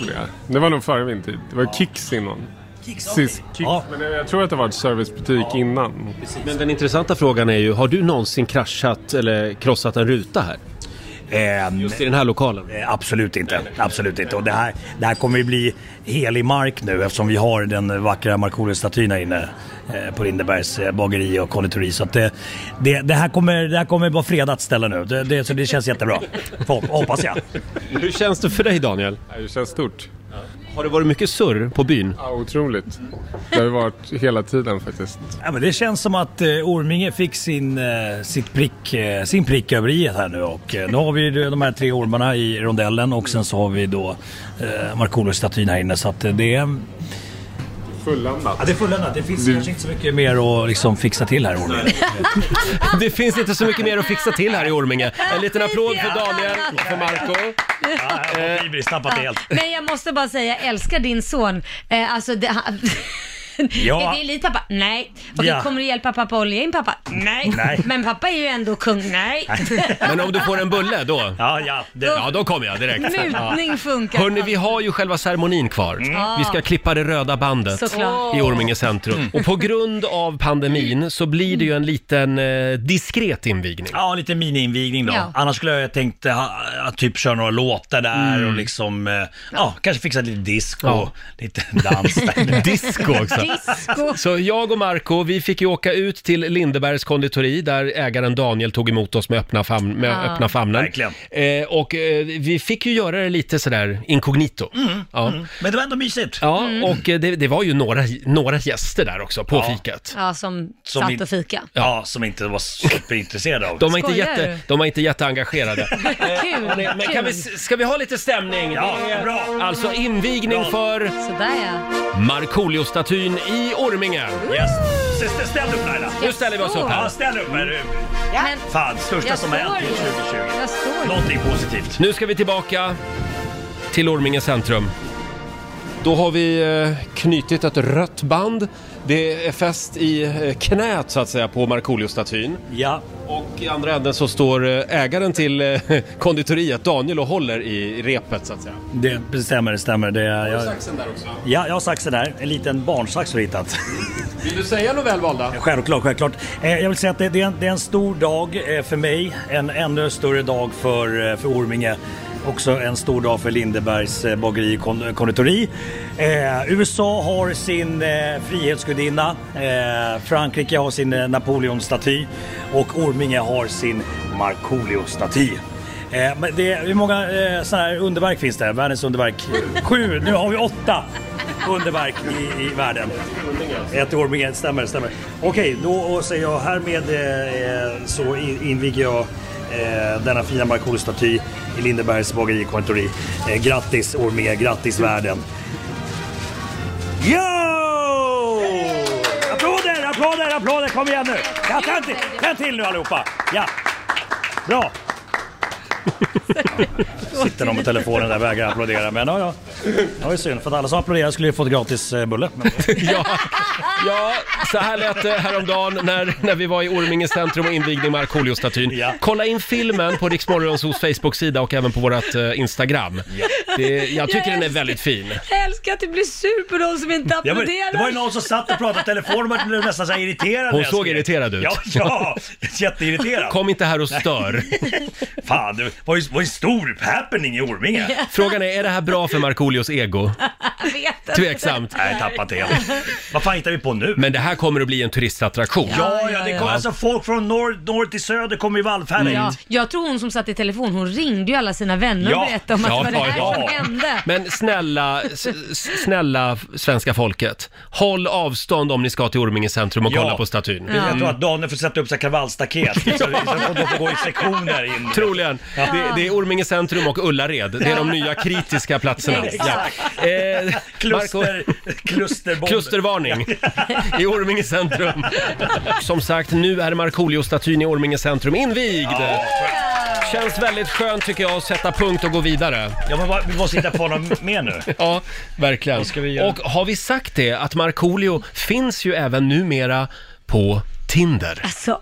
J: det. Det var nog före min tid. Det var Kicks innan.
G: Kicks,
J: Precis,
G: okej.
J: Kicks.
G: Ja.
J: Men jag tror att det var en servicebutik innan.
A: Men den intressanta frågan är ju, har du någonsin kraschat eller krossat en ruta här?
G: Ehm,
A: Just i den här lokalen?
G: Eh, Absolut inte. Absolut inte. Och det, här, det här kommer ju bli helig mark nu eftersom vi har den vackra Markoolio-statyn här inne eh, på Lindebergs eh, bageri och konditori. Så att det, det, det, här kommer, det här kommer vara fredat ställe nu. Det, det, så det känns jättebra. Förhopp- Hoppas jag.
A: Hur känns det för dig Daniel?
J: Nej, Det känns stort.
A: Har det varit mycket surr på byn?
J: Ja, otroligt. Det har ju varit hela tiden faktiskt.
G: Ja, men det känns som att eh, Orminge fick sin, eh, sitt prick, eh, sin prick över i här nu och eh, nu har vi ju de här tre ormarna i rondellen och sen så har vi då eh, Markoolio-statyn här inne så att eh, det är
J: Fulländat.
G: Ja, det är fulländat. Det finns kanske inte så mycket mer att liksom fixa till här Olle.
A: Det finns inte så mycket mer att fixa till här i Orminge. En liten applåd för Daniel och för Marco.
G: Ja, Ibris tappat det helt.
D: Men jag måste bara säga, jag älskar din son. Eh, alltså, det, han...
G: Ja.
D: Är det lik pappa? Nej. Okej,
G: Ja.
D: kommer du hjälpa pappa att olja in pappa? Nej.
G: Nej.
D: Men pappa är ju ändå kung. Nej.
A: Men om du får en bulle då?
G: Ja, ja. Det,
A: Ja, då kommer jag direkt. Ja.
D: Mutning funkar.
A: Hörni, vi har ju själva ceremonin kvar. Vi ska klippa det röda bandet
D: Mm. Såklart. Mm.
A: i Orminge centrum. Och på grund av pandemin så blir det ju en liten eh, diskret invigning.
G: ja lite mini-invigning då.
D: Ja.
G: Annars skulle jag tänkt eh, ha, att typ köra några låtar där och liksom, eh, ja. kanske fixa lite disk och
A: Ja.
G: lite dans där.
A: Disco också.
D: Disco.
A: Så jag och Marco, vi fick ju åka ut till Lindebergs konditori där ägaren Daniel tog emot oss med öppna, famn, med öppna famnen.
G: Verkligen.
A: Eh, och eh, vi fick ju göra det lite sådär inkognito.
D: Mm.
A: ja.
G: Men det var ändå mysigt.
A: Ja, och eh, det, det var ju några, några gäster där också på fikat.
D: Ja, som,
G: Som
D: satt
G: min-
D: och fika.
G: Ja, som inte var superintresserade av.
A: De var, inte
D: Skojar
A: jätte,
D: du?
A: de var inte jätteengagerade.
G: Eh,
D: Kul,
A: Men kan vi,
D: kul.
A: ska vi ha lite stämning?
G: Ja,
A: Det är
G: bra.
A: Alltså invigning
G: Bra.
A: för
D: Sådär ja.
A: Markoolio-statyn i Orminge.
G: Yes. Ställ- ställ- Ställ upp Laila.
A: Nu ställer vi oss upp
G: Ja,
A: här.
G: ställ upp. Är du-
D: Men
G: Fan, största
D: Jag
G: som har hänt i
D: står ju.
G: 2020.
D: jag står ju.
G: Någonting positivt.
A: Nu ska vi tillbaka till Orminge centrum. Då har vi eh, knutit ett rött band. Det är fäst i eh, knät så att säga på Markoolio-statyn.
G: Ja.
A: Och i andra änden så står eh, ägaren till eh, konditoriet, Daniel, och håller i repet så att säga.
G: Det stämmer, det stämmer. Det, jag,
A: Saxen där också.
G: ja, jag har saxen här. En liten barnsax har jag hittat.
A: Vill du säga något välvalda?
G: Självklart, självklart. Eh, jag vill säga att det, det, är en, det är en stor dag eh, för mig. En ännu större dag för, eh, för Orminge. Också en stor dag för Lindebergs eh, bageri och kon- konditori. Eh, USA har sin eh, frihetsgudinna. Eh, Frankrike har sin eh, Napoleonstaty. Och Orminge har sin Markoolio-staty. Eh, men det, hur många eh, sådana här underverk finns det? Världens underverk? Sju! Nu har vi åtta underverk i, i världen. Ett Orminge, stämmer, stämmer. Okej, då och säger jag härmed eh, eh, så in- inviger jag eh, denna fina Markoolio-staty i Lindebergs bageri och konditori. Eh, grattis Orminge, grattis världen. Yo! Applåder, applåder, applåder! Kom igen nu! Ja, ta en till, ta en till nu allihopa! Ja! Bra! Sitter de på telefonen där och vägrar applådera. Men ja, ja. Det var ju synd för att alla som applåderade skulle ju fått gratis eh, bulle. Men...
A: Ja, ja, så här lät det häromdagen när, när vi var i Orminge centrum och invigde Markoolio-statyn.
G: Ja.
A: Kolla in filmen på Riksmorgonsos Facebook-sida och även på vårt eh, Instagram. Det, jag tycker den är väldigt fin.
D: Jag älskar att du blir sur på de som inte
G: Ja, men,
D: applåderar.
G: det var ju någon som satt och pratade i telefon och man blev nästan så här irriterad.
A: Hon
G: när jag
A: såg
G: skrek.
A: irriterad ut.
G: Ja, ja jätteirriterad.
A: Kom inte här och stör.
G: Fan, det var ju, var ju stor happening i Orminge.
A: Frågan är, är det här bra för Markoolios ego?
D: Jag vet
A: Tveksamt.
G: Nej, tappat det helt. Vad fan hittar vi på nu?
A: Men det här kommer att bli en turistattraktion.
G: Ja, ja, det kommer alltså folk från norr, norr till söder kommer ju vallfärda
D: Ja,
G: hit.
D: jag tror hon som satt i telefon, hon ringde ju alla sina vänner
A: Ja.
D: och berättade om att
A: Ja,
D: det var det
A: ja,
D: här
A: ja.
D: som hände.
A: Men snälla, s- s- snälla svenska folket. Håll avstånd om ni ska till Orminge centrum och
G: Ja.
A: kolla på statyn.
G: Jag tror att Daniel får sätta upp så här kravallstaket. Så, så får de får gå i sektioner in.
A: Troligen. Det, det är Orminge centrum och Ullared. Det är de nya kritiska platserna. Ja.
G: Exakt.
A: Eh,
G: Kluster, klusterbomber.
A: Klustervarning i Orminge centrum. Som sagt, nu är Markoolio-statyn i Orminge centrum invigd. Känns väldigt skönt tycker jag att sätta punkt och gå vidare.
G: Ja, men vad- vi måste hitta på honom mer nu.
A: Ja, verkligen.
G: göra?
A: Och har vi sagt det att Markoolio finns ju även numera på Tinder?
D: Alltså,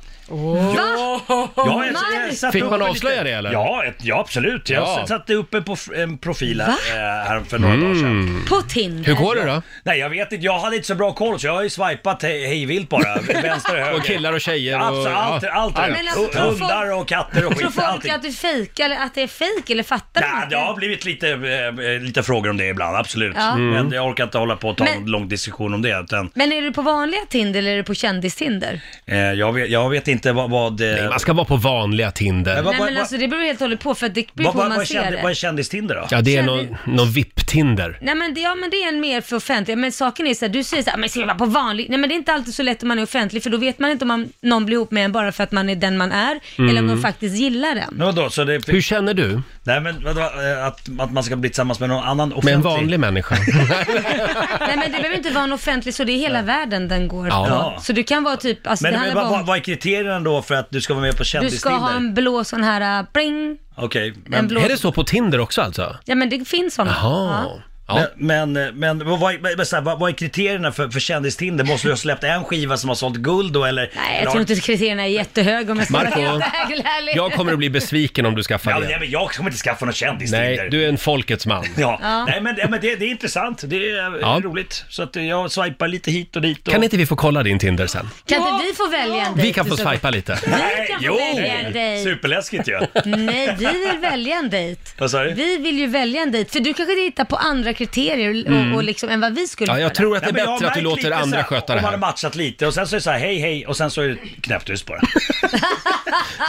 G: Ja, jag, jag satte
A: Fick
G: upp
A: man
G: en
A: avslöja
G: liten-
A: det, eller?
G: Ja, ett, ja absolut. Jag
A: Ja.
G: satte upp en, prof, en profil här, eh, här för några dagar sedan.
A: Mm.
D: på Tinder.
A: Hur går det då?
G: Nej, jag vet inte. Jag hade inte så bra koll så jag har ju swipat hej hejvilt bara. Vänster och höger.
A: Och killar och tjejer och...
G: Alltså, allt,
A: ja.
G: allt, allt.
D: Men alltså, tror
G: Hundar
D: folk-
G: och katter och
D: Tror
G: skit.
D: folk
G: Allting.
D: att, du fejkar, eller att det är fejk eller fattar de
G: Ja,
D: inte?
G: det har blivit lite, eh, lite frågor om det ibland, absolut.
D: Ja.
A: Mm.
G: Men jag orkar inte hålla på och ta
D: Men-
G: en lång diskussion om det. Utan,
D: Men är du på vanliga Tinder eller är du på kändis-Tinder?
G: eh, jag, vet, jag vet inte vad... vad eh,
A: Man ska vara på vanliga
G: men
A: Tinder.
G: vad-
D: Nej
G: vad-
D: men alltså det beror helt och hållet på för att det beror
G: vad-
D: på hur
G: vad-
D: man
G: vad är
D: ser
G: kändis- Vad är
D: det.
G: kändis-Tinder då?
A: Ja, det är någon, någon VIP-Tinder.
D: Nej men det, ja, men det är en mer för offentlig, men saken är så här, du säger så här, men ska jag vara på vanlig? Nej men det är inte alltid så lätt om man är offentlig för då vet man inte om man, någon blir ihop med en bara för att man är den man är eller
A: Mm.
D: om de faktiskt gillar en.
G: Men vadå, så det,
A: Hur känner du?
G: nej men vadå, eh, att, att man ska bli tillsammans med någon annan offentlig?
A: Med en vanlig människa?
D: Nej men det behöver inte vara en offentlig så det är hela världen den går
A: Ja.
D: på. Så du kan vara typ, alltså
G: Men,
D: det
G: men
D: handlar
G: vad,
D: bara
G: vad,
D: om,
G: vad är kriterierna då för att du ska vara med på
D: du ska
G: kändis-Tinder?
D: ha en blå sån här, uh, bling.
G: Okej,
D: en
G: men,
D: blå-
A: Är det så på Tinder också alltså?
D: Ja men det finns såna.
A: Jaha. Ja.
G: men, men, eh, men, vad, vad, men så här, vad, vad är kriterierna för, för kändis-Tinder? Måste du ha släppt en skiva som har sålt guld då eller?
D: Nej,
G: eller
D: jag
G: har-
D: tror inte kriterierna är jättehöga om jag ska vara
A: Marco,
D: helt ärlig.
A: Jag kommer att bli besviken om du
G: Ja,
A: skaffar
G: men- nej,
A: det.
G: men jag kommer inte skaffa någon kändis-Tinder.
A: Nej, du är en folkets man.
G: Ja. Nej men, nej, men det, det är intressant. Det är eh,
A: Ja.
G: roligt. Så att eh, jag swipar lite hit och dit. Och...
A: Kan inte vi få kolla din Tinder sen?
D: Kan inte vi få välja en dejt?
A: Vi kan få
D: du ska-
A: swipa lite.
D: Vi kan få välja en dejt.
G: Superläskigt ju.
D: Nej, vi vill välja en dejt.
G: Vad sa du?
D: Vi vill ju välja en dejt, för du kanske hittar på andra kriterier och, och liksom, än vad vi skulle
A: Mm. Ja, jag
D: göra.
A: tror att det är
G: Nej, men jag har
A: bättre att du
G: märkt
A: låter
G: lite så här,
A: andra sköta det
G: Om man har
A: här.
G: matchat lite och sen så är det så här hej hej och sen så är det knäpptyst bara.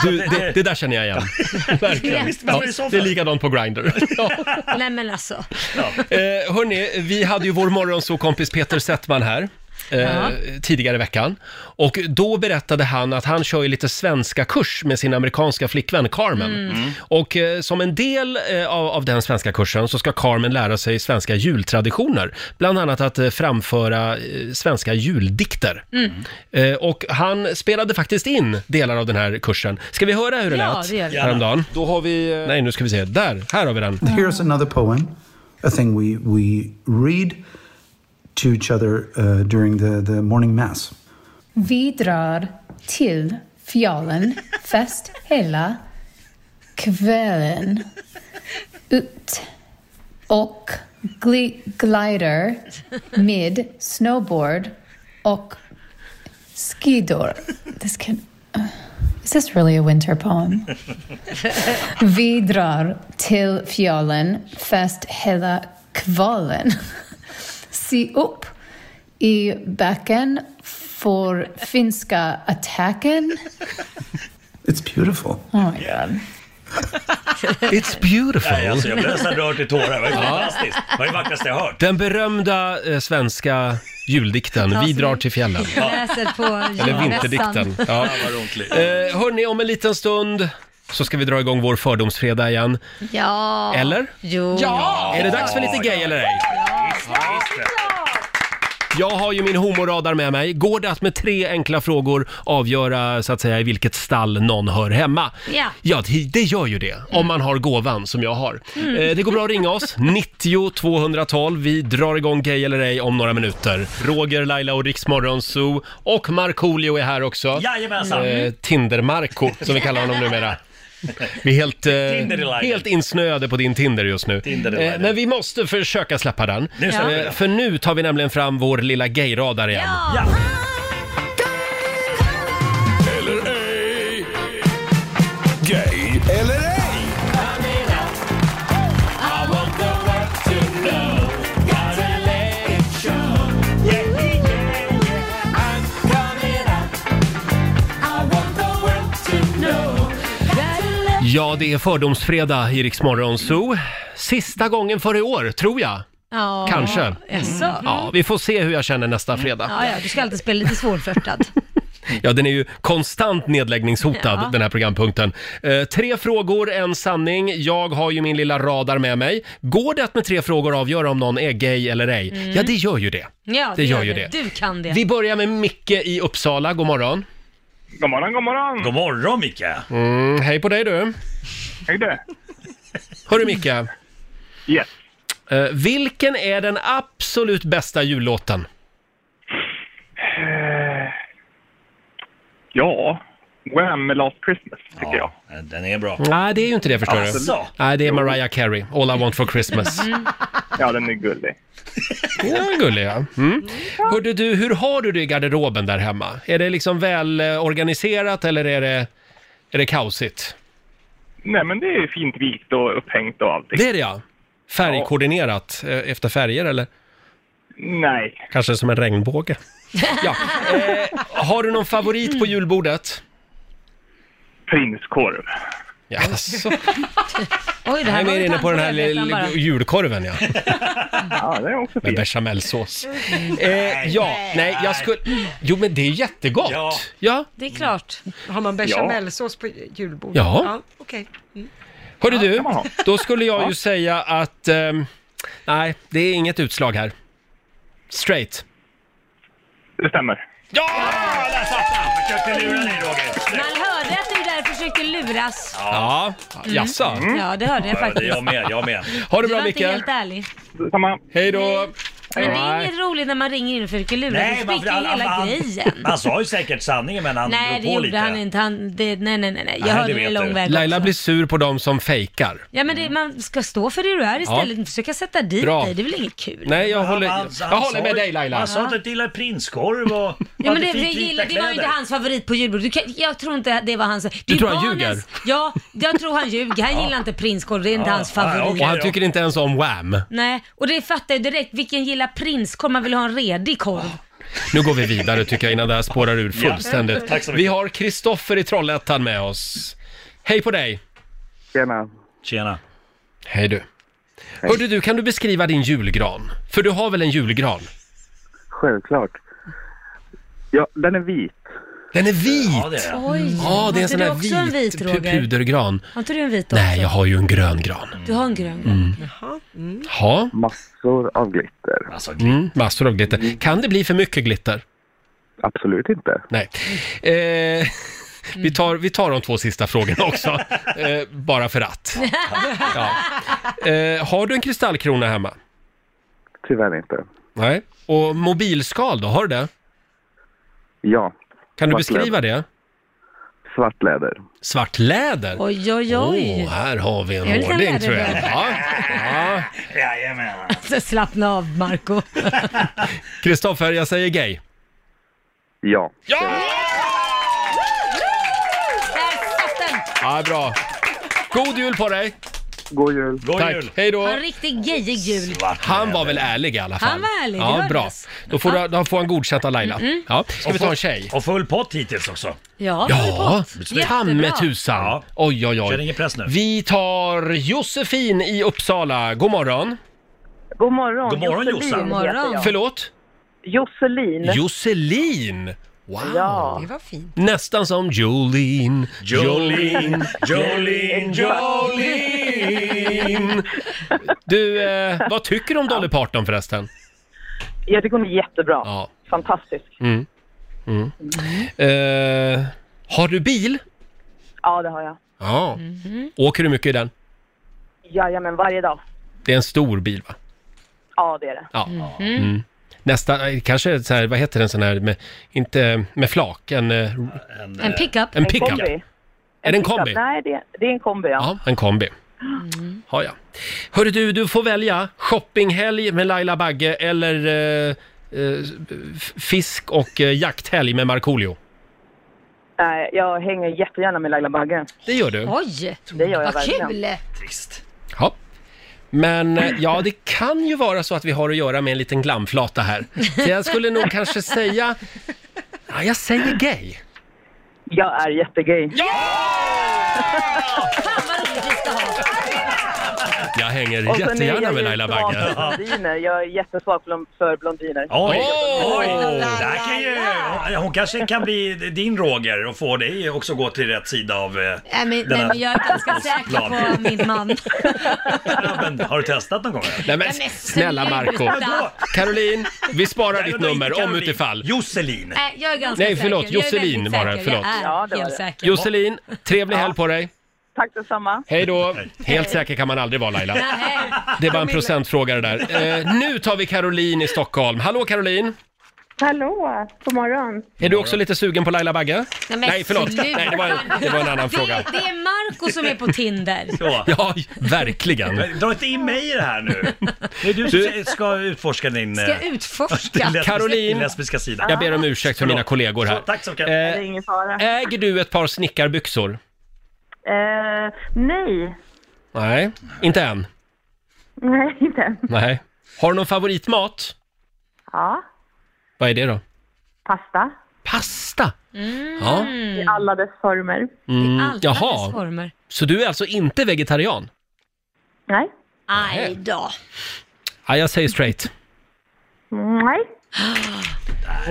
A: Du, det, det där känner jag igen. Verkligen.
G: Visst, varför
A: Ja,
G: är det så
A: det är
G: för?
A: likadant på Grindr. Ja.
D: Nej men alltså.
A: Eh, hörni, vi hade ju vår morgonsokompis Peter Settman här. Eh,
D: Ja.
A: tidigare i veckan. Och då berättade han att han kör ju lite svenska kurs med sin amerikanska flickvän Carmen.
D: Mm.
A: Och eh, som en del eh, av, av den svenska kursen så ska Carmen lära sig svenska jultraditioner. Bland annat att eh, framföra eh, svenska juldikter.
D: Mm.
A: Eh, och han spelade faktiskt in delar av den här kursen. Ska vi höra hur det
D: Ja,
A: lät
D: det gör vi.
A: häromdagen? Då har vi... eh, Nej, nu ska vi se. Där, här har vi den.
K: Here's another poem, a thing we, we read to each other uh, during the, the morning mass.
L: Vi drar till fjällen fest hela kvällen. Ut och gli- glider med snowboard och skidor. This can, uh, is this really a winter poem? Vi drar till fjällen fest hela kvällen. Se upp i backen för finska attacken.
K: It's beautiful.
L: Oh my god.
A: It's beautiful.
G: Nej, alltså, jag blev nästan rörd till tårar. Det var ju fantastiskt. Det var det vackraste jag hört.
A: Den berömda eh, svenska juldikten Vi
D: som
A: drar
D: är-
A: till fjällen.
D: Jag läser på
A: Eller
D: julmässan.
A: vinterdikten. Ja.
G: Vad roligt.
A: Eh, hörni, om en liten stund så ska vi dra igång vår fördomsfredag igen.
D: Ja.
A: Eller?
D: Jo. Ja.
A: Är det dags för lite gay eller ej? Jag har ju min homoradar med mig. Går det att med tre enkla frågor avgöra så att säga i vilket stall någon hör hemma?
D: Ja.
A: Ja, det- det gör ju det. Om man har gåvan som jag har. Eh, Det går bra att ringa oss, 90 212. Vi drar igång Gay eller ej om några minuter. Roger, Laila och Riksmorgon Zoo och Markoolio är här också.
G: Jajamensan.
A: Eh, Tinder-Marco, som vi kallar honom numera. Vi är helt, eh,
G: Tinder-delighted.
A: helt insnöade på din Tinder just nu. Eh,
G: Tinder-delighted.
A: men vi måste försöka släppa den.
G: Nu släpper vi
A: Eh,
G: den.
A: För nu tar vi nämligen fram vår lilla gayradar igen.
G: Ja.
C: Eller ej. Gay eller ej.
H: I want the world to know. Gotta let
A: Ja, det är fördomsfredag i Rix Morgon Zoo. Sista gången för i år, tror jag.
D: Ja,
A: Kanske. Mm.
D: Jaså?
A: Ja, vi får se hur jag känner
G: Mm.
A: nästa fredag.
D: Ja, ja, du ska alltid spela lite svårflörtad.
A: Ja, den är ju konstant nedläggningshotad,
D: Ja.
A: den här programpunkten. Eh, tre frågor, en sanning. Jag har ju min lilla radar med mig. Går det att med tre frågor avgöra om någon är gay eller ej?
D: Mm.
A: Ja, det gör ju det.
D: Ja,
A: det gör ju det.
D: Du kan det.
A: Vi börjar med Micke i Uppsala. God morgon.
M: God morgon, god morgon.
G: God morgon Micke.
A: Mm, hej på dig du.
M: Hej du.
A: Hörru Micke.
M: Yes.
A: Eh, vilken är den absolut bästa jullåten?
M: Eh, Ja, Wham! Last Christmas tycker
G: jag. Den är bra.
A: Nej, det är ju inte det förstår du.
M: Alltså.
A: Nej, det är Mariah Carey, All I want for Christmas.
M: Ja, den är gullig.
A: Ja, gullig ja. Mm. Hörde du, hur har du det i garderoben där hemma? Är det liksom väl eh, organiserat eller är det, är det kaosigt?
M: Nej, men det är fint vikt och upphängt och allting.
A: Det är det ja. Färgkoordinerat eh, efter färger eller?
M: Nej.
A: Kanske som en regnbåge. Ja. Eh, har du någon favorit på julbordet?
M: Prinskorv.
A: Jaså?
D: Oj, det
A: Jag
D: här
A: är
D: var
A: mer
D: ju
A: inne på den här
D: tanken, jag vet
A: lilla
D: bara.
A: julkorven ja.
M: Ja, det är också
A: Med bechamelsås. Eh, ja, nej, jag skulle... Jo, men det är jättegott! Ja. ja.
D: Det är klart.
B: Har man bechamelsås på julbordet?
A: Ja.
B: Okej. Mm.
A: Hörru du,
B: kan man ha.
A: då skulle jag
B: Ja.
A: ju säga att... ehm, nej, det är inget utslag här. Straight.
M: Det stämmer.
A: Ja!
G: Där satt han! Försökte lura dig Roger.
D: Man hörde att du där försökte luras.
A: Ja,
D: Mm.
A: jaså?
D: Ja, det hörde jag faktiskt.
G: jag med.
A: Ha det
D: du
A: bra
D: var
A: Micke!
D: inte helt ärlig.
M: Samma.
A: Hej då!
D: Men det är
G: Nej.
D: inget roligt när man ringer in och försöker lura.
G: Nej,
D: du
G: man-
D: spricker ju
G: alla-
D: hela
G: alla-
D: grejen.
G: Han sa ju säkert sanningen men han
D: nej,
G: drog
D: det
G: på
D: gjorde
G: lite.
D: han inte. Han, det, nej, nej, nej, nej. Jag
G: Nej,
D: hörde
G: det
D: det
G: vet
D: lång
G: du.
D: väg.
A: Laila blir sur på de som fejkar.
D: Ja, men det, man ska stå för det du är istället. Inte försöka sätta dit
A: Mm. Bra.
D: dig. Det är väl inget kul?
A: Nej, jag
G: Han-
A: håller,
G: han-
A: jag
G: han
A: håller
G: sa
A: med
G: ju-
A: dig Laila.
G: Han sa att du gillar prinskorv och... och
D: Ja, men
G: hade
D: det, det,
G: fint vita
D: gillar, det var ju inte
G: kläder.
D: hans favorit på julbordet. Du kan, jag tror inte det var hans... det
A: Du
D: är
A: tror han
D: barnens-
A: ljuger?
D: Ja, jag tror han ljuger. Han gillar inte prinskorv. Det är inte hans favorit.
A: Och han tycker inte ens om Wham.
D: Nej, och det fattar jag direkt. Vilken gillar prinskorv? Man vill ha en redig korv.
A: Nu går vi vidare tycker jag innan det här spårar ur
H: Ja.
A: fullständigt.
H: Tack så mycket.
A: vi har Kristoffer i Trollhättan med oss. Hej på dig!
M: Tjena!
G: Tjena!
A: Hej du! Hörde du, kan du beskriva din julgran? För du har väl en julgran?
M: Självklart. Ja, den är vit.
A: Den är vit!
M: Ja, det är den. Oj.
A: Ja, det är en
M: Hade
A: sån
M: du
A: där
M: också
A: vit,
M: en vit,
A: pu-
M: Roger?
A: pudergran.
D: Mm. Har inte du en vit också?
A: Nej, jag har ju en grön gran.
D: Du har en grön.
A: Mm.
D: Jaha. Mm.
A: Ja.
M: Massor av glitter.
A: Mm, massor av glitter. Kan det bli för mycket glitter?
M: Absolut inte.
A: Nej.
M: Mm.
A: Eh, vi, tar, vi tar de två sista frågorna också, eh, bara för att. Ja. Eh, har du en kristallkrona hemma?
M: Tyvärr inte.
A: Nej. Och mobilskal då, har du det?
M: Ja.
A: Kan du
M: Svart läder.
A: beskriva det?
M: Svart läder.
A: Svart läder?
D: Oj, oj, oj.
A: Åh, här har vi en
D: Jag vill ha
A: ordning tror jag.
D: läderbröd.
A: Ja. Ja.
G: Jajamän.
D: Så slappna av, Marco.
A: Kristoffer, jag säger gay.
M: Ja.
D: Där satt den!
A: Ja, bra. God jul på dig!
M: God jul!
A: God Tack.
G: jul.
A: Hej då!
D: Ha en riktigt gejig jul.
A: Han var väl ärlig i alla fall?
D: Han var ärlig, det Mm,
A: Ja,
D: hördes.
A: bra. Då får, du, då får han godkänt av Laila.
D: Mm-mm.
A: Ja. Ska vi
G: Och
A: ta en
G: full-
A: tjej?
G: Och full pott hittills också.
D: Ja,
A: Ja,
G: Jättebra.
A: ta med tusan. Oj, oj, oj.
G: Känner ingen press nu.
A: Vi tar Josefin i Uppsala. God morgon.
N: God morgon.
A: God morgon,
N: Josselin
A: Jossan.
N: heter jag.
A: Förlåt?
N: Josselin.
A: Josselin! Wow!
N: Ja.
B: Det var fint.
A: Nästan som Jolene, Jolene,
G: Jolene,
A: Jolene. Du, eh, vad tycker du om Dolly Parton förresten?
N: Jag tycker hon är jättebra.
A: Ja.
N: Fantastisk.
A: Mm. Mm. Eh, har du bil?
N: Ja, det har jag.
A: Ja. Åker du mycket i den?
N: Jajamän, varje dag.
A: Det är en stor bil va?
N: Ja, det är det.
A: Ja.
N: Mm-hmm.
A: Mm. Nästa, eh, kanske så här, vad heter den sån här med, inte med flak, en... eh,
D: En pickup.
A: En pickup.
N: kombi.
A: Är det en
N: pickup.
A: kombi?
N: Nej, det, det är en kombi, ja.
A: Ja, en kombi. Har jag. Hörru du, du får välja shoppinghelg med Laila Bagge eller eh, eh, f- fisk och eh, jakthelg med Markoolio.
N: Nej, jag hänger jättegärna med Laila Bagge.
A: Det gör du.
D: Oj!
N: Det gör jag
D: Vad
N: verkligen.
D: kul!
A: Ja. Men eh, ja, det kan ju vara så att vi har att göra med en liten glamflata här. Så jag skulle nog kanske säga... Ja, jag säger gay.
N: Jag är jättegay.
A: Ja! Jag hänger
N: Och sen är
A: jättegärna
N: jag
A: med
N: ju
A: Laila
N: svag
A: Bagge.
N: för blondiner. Jag är jättesvag för blond- för blondiner.
G: Oj! Oj! Där kan ju, hon- hon kanske kan bli din Roger och få dig också gå till rätt sida av eh,
D: Nej, men,
G: denna
D: nej, men jag är ganska säker på
G: plan.
D: min man.
G: Men Har du testat någon gång? eller?
A: Nej, men,
D: Nej, men
A: snälla Marco
D: sluta.
A: Caroline, vi sparar
G: Nej,
A: ditt
G: men
A: nummer
G: inte
A: om
G: Caroline.
A: utifall.
G: Josselin.
D: Nej, jag är ganska
A: Nej, förlåt.
D: säker. Jag är
A: Josselin
D: väldigt
A: var det,
D: säker.
A: förlåt.
D: Jag är
N: Ja, det var det.
D: helt säker.
A: Josselin, trevlig helg på dig.
N: Tack detsamma.
A: Hej då. Helt säker kan man aldrig vara Laila.
D: Nej.
A: Det var en procentfråga det där. Eh, nu tar vi Caroline i Stockholm. Hallå Caroline!
E: Hallå, god morgon.
A: Är du också lite sugen på Laila Bagge?
D: men
A: förlåt.
D: sluta.
A: Nej, det var en, det var en annan
D: det,
A: fråga.
D: Det är Marco som är på Tinder.
A: Ja, verkligen.
G: Dra inte in mig i det här nu. Det är du som
A: Du-
G: ska utforska din...
D: Ska
G: eh,
D: jag utforska?
G: din lesbiska-
A: Caroline,
G: din lesbiska sida.
A: jag ber om ursäkt för mina kollegor här.
G: Tack så mycket.
A: Eh,
N: Ingen fara.
A: Äger du ett par snickarbyxor?
N: Eh, nej.
A: Nej, inte än.
N: Nej, inte än.
A: Nej. Har du någon favoritmat?
N: Ja,
A: Vad är det då?
N: pasta.
A: Pasta?
D: Mm,
A: Ja.
N: I alla dess former.
A: Mm,
D: dess
A: jaha,
D: former.
A: så du är alltså inte vegetarian?
N: Nej.
D: Aj då.
A: Ja, jag säger straight.
N: Nej.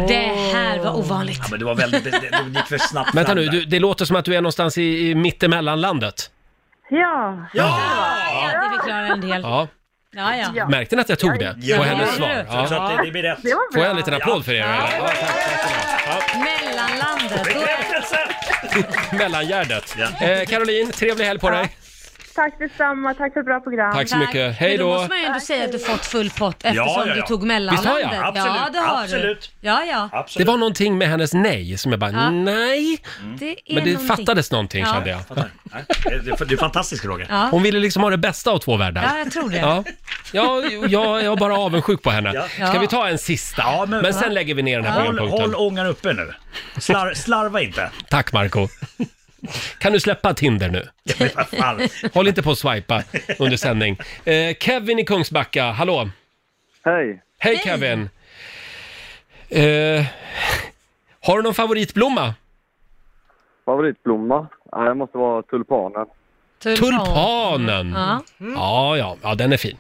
D: Det här var ovanligt.
G: Ja, men det var väldigt... Det, det, det gick för snabbt
A: Vänta
G: fram
A: nu,
G: där.
A: du, det låter som att du är någonstans i, i mittemellanlandet.
N: Ja.
D: Ja, det förklarar en del.
A: Ja.
D: Ja, ja.
A: Märkte ni att jag tog det?
G: Ja,
A: på
G: det
A: hennes
G: gjorde
A: svar.
G: du. Så att det- det blir rätt. Det var
A: Får jag
G: bra.
A: en liten applåd för er? eller? Ja.
D: Mellanlandet.
A: Mellangärdet. Eh, Caroline, trevlig helg på dig.
N: Tack detsamma. Tack för ett bra program.
A: Tack så mycket. Hej
D: Men då
A: då.
D: måste man ju ändå säga att du fått full pott eftersom
A: Ja, ja, ja.
D: du tog
A: Visst har jag?
D: mellanlandet. Ja,
A: Absolut,
D: det har
A: absolut.
D: du. Ja, ja.
A: Det var någonting med hennes nej som jag bara,
D: Ja.
A: nej.
D: Det är
A: Mm. Men det
D: någonting.
A: fattades någonting
D: Ja.
A: kände jag.
G: Nej, det är- Du är fantastisk Roger.
D: Ja.
A: Hon ville liksom ha det bästa av två världar.
D: Ja, jag tror det.
A: Ja. Ja, jag, jag är bara avundsjuk på henne.
G: Ja.
A: Ska vi ta en sista? men, sen lägger vi ner den här
G: håll, håll
A: programpunkten.
G: ångan uppe nu. Slar, slarva inte.
A: Tack Marco Kan du släppa Tinder nu? Håll inte på och swipa under sändning. Eh, Kevin i Kungsbacka, hallå!
O: Hej!
A: Hej Kevin! Eh, har du någon favoritblomma?
O: Favoritblomma? Nej, det måste vara tulpanen.
A: Tulpanen!
O: Ja.
A: Ja, ja, ja, den är fin.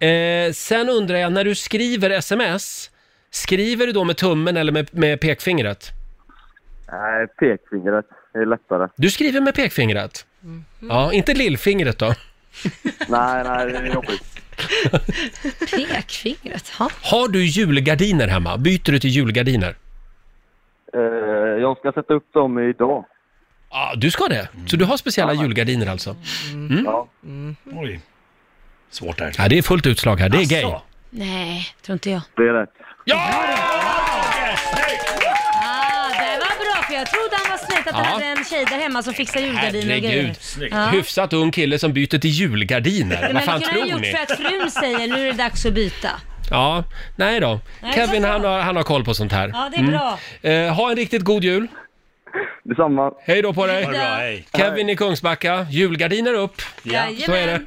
A: Eh, sen undrar jag, när du skriver sms, skriver du då med tummen eller med, med pekfingret?
O: Nej, pekfingret är lättare.
A: Du skriver med pekfingret? Ja, inte lillfingret då?
O: nej, nej, det är jobbigt.
D: Pekfingret, ja.
A: Har du julgardiner hemma? Byter du till julgardiner?
O: Eh, jag ska sätta upp dem idag.
A: Ja, du ska det? Så du har speciella julgardiner alltså? Mm.
O: Ja.
G: Oj. Svårt här.
A: Ja, det är fullt utslag här. Det är
G: Asså.
A: gay.
D: Nej, tror inte jag.
O: Det är rätt.
D: Ah, det var bra för jag trodde han var snett
A: Ja.
D: att du hade en tjej där hemma som fixar julgardiner och
A: Herregud.
D: grejer.
A: Hyfsat ung kille som byter till julgardiner.
D: Men
A: Vad fan
D: det
A: tror
D: kunde han ha
A: ni?
D: gjort för att frun säger nu är det dags att byta.
A: Ja, nej då.
D: Nej,
A: Kevin
D: vad bra.
A: han har, han har koll på sånt här.
D: Ja, det är bra.
A: Eh, ha en riktigt god jul.
O: Detsamma.
A: Hej då på dig.
G: Ha det bra, hej.
A: Kevin i Kungsbacka, julgardiner upp.
G: Ja.
A: Så är det.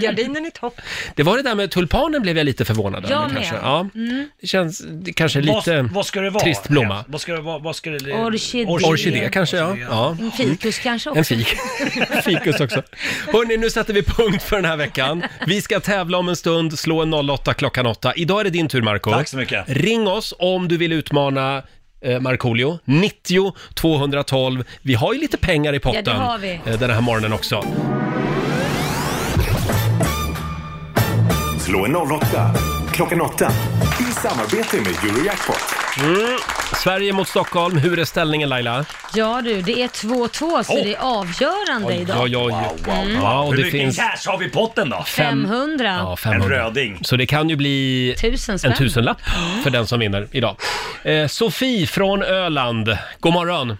B: Gardinen i topp.
A: Det var det där med tulpanen blev jag lite förvånad
B: Jag
A: över
B: med.
A: kanske. Ja.
B: Mm.
A: Det känns det kanske är lite
G: Vad- vad ska det vara?
A: trist blomma.
G: Vad ska det vara? Vad ska det...
D: Orkidé.
A: Orkidé kanske, ja. ja.
D: En fikus kanske också.
A: En fik. Fikus också. Hörni, nu sätter vi punkt för den här veckan. Vi ska tävla om en stund, slå en 08 klockan 8. Idag är det din tur Marco.
G: Tack så mycket.
A: Ring oss om du vill utmana eh, Markoolio. 90 212. Vi har ju lite pengar i potten
D: Ja, det har vi.
A: eh, den här morgonen också.
C: Slå en 08 klockan 8 i samarbete med Eurojackpot.
A: Mm. Sverige mot Stockholm. Hur är ställningen Laila?
D: Ja du, det är 2-2 så det är avgörande idag.
A: oj, oj.
D: Mm.
A: Ja, och
G: Hur
A: det
G: mycket
A: finns...
G: cash har vi i potten då?
A: Fem-
D: 500.
A: Ja, 500.
G: En röding.
A: Så det kan ju bli
D: Tusen spänn.
A: en tusenlapp för den som vinner idag. Eh, Sofie från Öland, god morgon.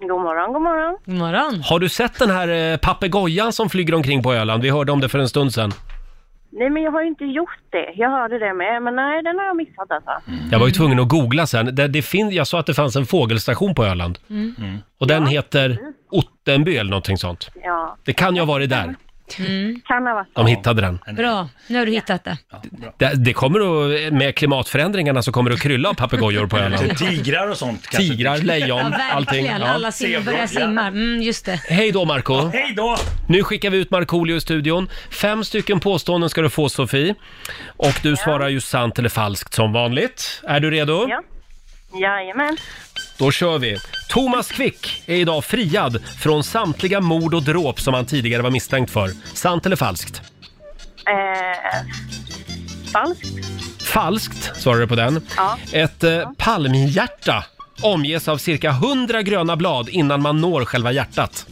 P: God morgon, god morgon.
D: God morgon.
A: Har du sett den här eh, papegojan som flyger omkring på Öland? Vi hörde om det för en stund sedan.
P: Nej, men jag har ju inte gjort det. Jag hörde det med, men nej, den har jag missat alltså.
A: Jag var ju tvungen att googla sen. Det, det fin- jag sa att det fanns en fågelstation på Öland.
P: Mm.
A: Och den heter Ottenby eller någonting sånt.
P: Ja.
A: Det kan ju ha varit där.
P: Kan ha varit.
A: De hittade den.
D: Bra, nu har du hittat det.
A: Det, det kommer att, med klimatförändringarna så kommer det att krylla av papegojor på Öland.
G: Tigrar och sånt
A: kanske. Tigrar,
D: Ja,
A: lejon, allting.
D: verkligen. Alla simmar, börjar simma. Mm, just det.
A: Hej då Marco
G: Hej då!
A: Nu skickar vi ut Markoolio i studion. Fem stycken påståenden ska du få Sofie. Och du svarar ju sant eller falskt som vanligt. Är du redo?
P: Ja. Jajamän.
A: Då kör vi. Thomas Quick är idag friad från samtliga mord och dråp som han tidigare var misstänkt för. Sant eller falskt?
P: Eh, falskt.
A: Falskt, svarar du på den.
P: Ja.
A: Ett eh, palmhjärta omges av cirka 100 gröna blad innan man når själva hjärtat.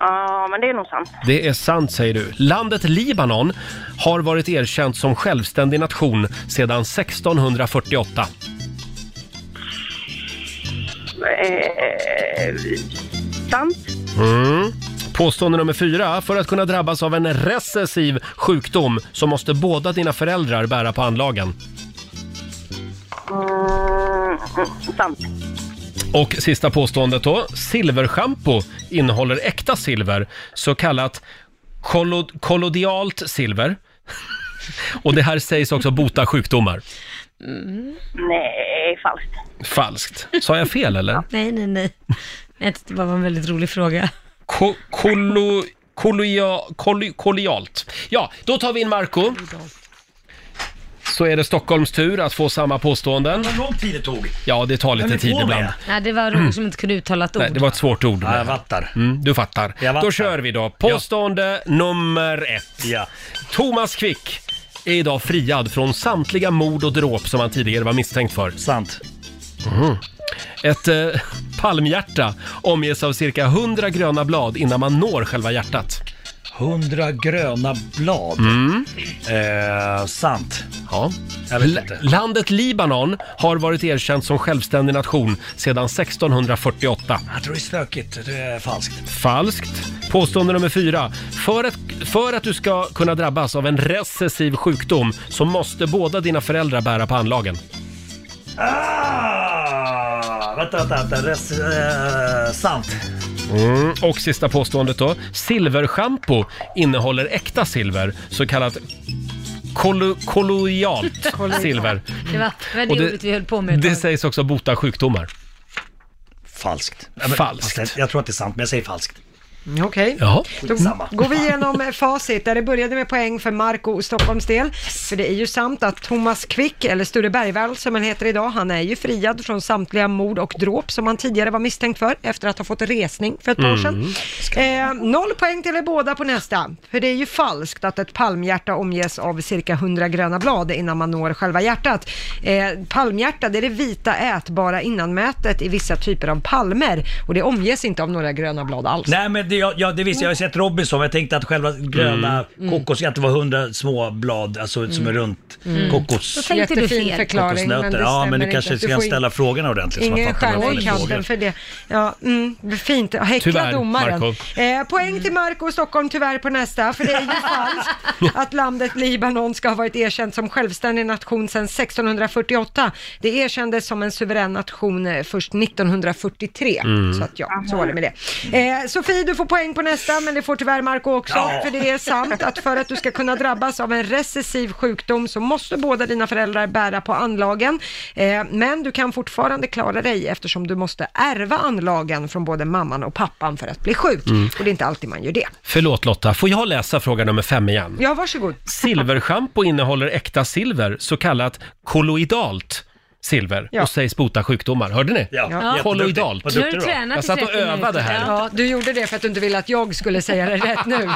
P: Ja, men det är nog sant.
A: Det är sant, säger du. Landet Libanon har varit erkänt som självständig nation sedan 1648.
P: Eh, sant.
A: Mm. Påstående nummer fyra. För att kunna drabbas av en recessiv sjukdom så måste båda dina föräldrar bära på anlagen.
P: Mm, sant.
A: Och sista påståendet då. Silverschampo innehåller äkta silver, så kallat kollod- kollodialt silver. Och det här sägs också bota sjukdomar.
P: Mm. Nej, falskt.
A: Falskt. Sa jag fel eller?
D: Nej, nej, nej. Jag tyckte det bara var en väldigt rolig fråga.
A: Ko- kollo- kolloia- kolli- Kollialt. Ja, då tar vi in Marco Så är det Stockholms tur att få samma påståenden.
G: Vad lång tid det tog.
A: Ja, det tar lite
G: Höll ni
A: tid
G: på
A: ibland.
G: med?
D: Nej, det var Roger som inte kunde uttala ett ord.
A: Nej, det var ett svårt ord.
G: Ja, jag fattar.
A: Mm, du fattar.
G: Jag fattar.
A: Då kör vi då. Påstående nummer ett. Thomas Quick är idag friad från samtliga mord och dråp som han tidigare var misstänkt för.
G: Sant.
A: Mhm. Ett eh, palmhjärta omges av cirka 100 gröna blad innan man når själva hjärtat.
G: 100 gröna blad.
A: Mm.
G: Eh, sant.
A: Ja.
G: Jag vet inte.
A: Landet Libanon har varit erkänt som självständig nation sedan 1648.
G: Jag tror det är stökigt. Det är falskt.
A: Falskt. Påstående nummer fyra. För att, för att du ska kunna drabbas av en recessiv sjukdom så måste båda dina föräldrar bära på anlagen.
G: Ah, vänta, vänta, vänta. Res, eh, sant.
A: Mm. Och sista påståendet då. Silverschampo innehåller äkta silver, så kallat kollo, kolloialt silver.
D: Det var, det var det,
A: Mm. Och det-
D: ordet vi höll på med. ett
A: Det
D: tag.
A: sägs också bota sjukdomar.
G: Falskt.
A: Falskt.
G: Jag, jag tror att det är sant, men jag säger falskt.
B: Okej.
A: Jaha.
B: Då
G: Skitsamma.
B: går vi igenom eh, facit där det började med poäng för Marco och Stockholms del. För det är ju sant att Thomas Quick, eller Sture Bergvall som han heter idag, han är ju friad från samtliga mord och dråp som han tidigare var misstänkt för efter att ha fått resning för ett par år sedan.
Q: Mm.
B: Eh, noll poäng till er båda på nästa. För det är ju falskt att ett palmhjärta omges av cirka 100 gröna blad innan man når själva hjärtat. Eh, palmhjärta, det är det vita ätbara innanmätet i vissa typer av palmer och det omges inte av några gröna blad alls.
G: Nej men det, ja, ja, det visste jag, jag har sett Robinson, men jag tänkte att själva gröna kokos, att det var hundra små blad alltså, som är runt
B: Mm.
G: kokos.
B: Då tänkte du Jättefin fel. förklaring,
G: kokosnötter.
B: men det
G: Ja
B: stämmer
G: men du
B: inte.
G: kanske
B: Du
G: kan
B: får in-
G: ställa frågorna ordentligt. så man
B: Ingen
G: fattar vad
B: stjärna
G: det är för
B: i kanten
G: frågor.
B: för det. Ja, mm, det är fint. Häckla
G: Tyvärr,
B: domaren.
G: Marco.
B: Eh, poäng till Marco och Stockholm tyvärr på nästa, för det är ju falskt att landet Libanon ska ha varit erkänt som självständig nation sedan 1648. Det erkändes som en suverän nation eh, först 1943.
Q: Mm.
B: Så att ja, så var det med det. Eh, Sofie, du får poäng på nästa, men det får tyvärr Marco också,
Q: Ja.
B: för det är sant att för att du ska kunna drabbas av en recessiv sjukdom så måste båda dina föräldrar bära på anlagen. Eh, men du kan fortfarande klara dig eftersom du måste ärva anlagen från både mamman och pappan för att bli sjuk.
A: Mm.
B: Och det är inte alltid man gör det.
A: Förlåt Lotta, får jag läsa fråga nummer fem igen?
B: Ja, varsågod.
A: Silverschampo innehåller äkta silver, så kallat kolloidalt silver
B: Ja.
A: och sägs bota sjukdomar. Hörde ni?
B: Ja.
A: Kolloidalt.
B: Vad duktig du var. Nu har du tränat
A: Jag
B: i
A: satt och
B: 30 minuter.
A: övade här.
B: Ja, du gjorde det för att du inte ville att jag skulle säga det rätt nu.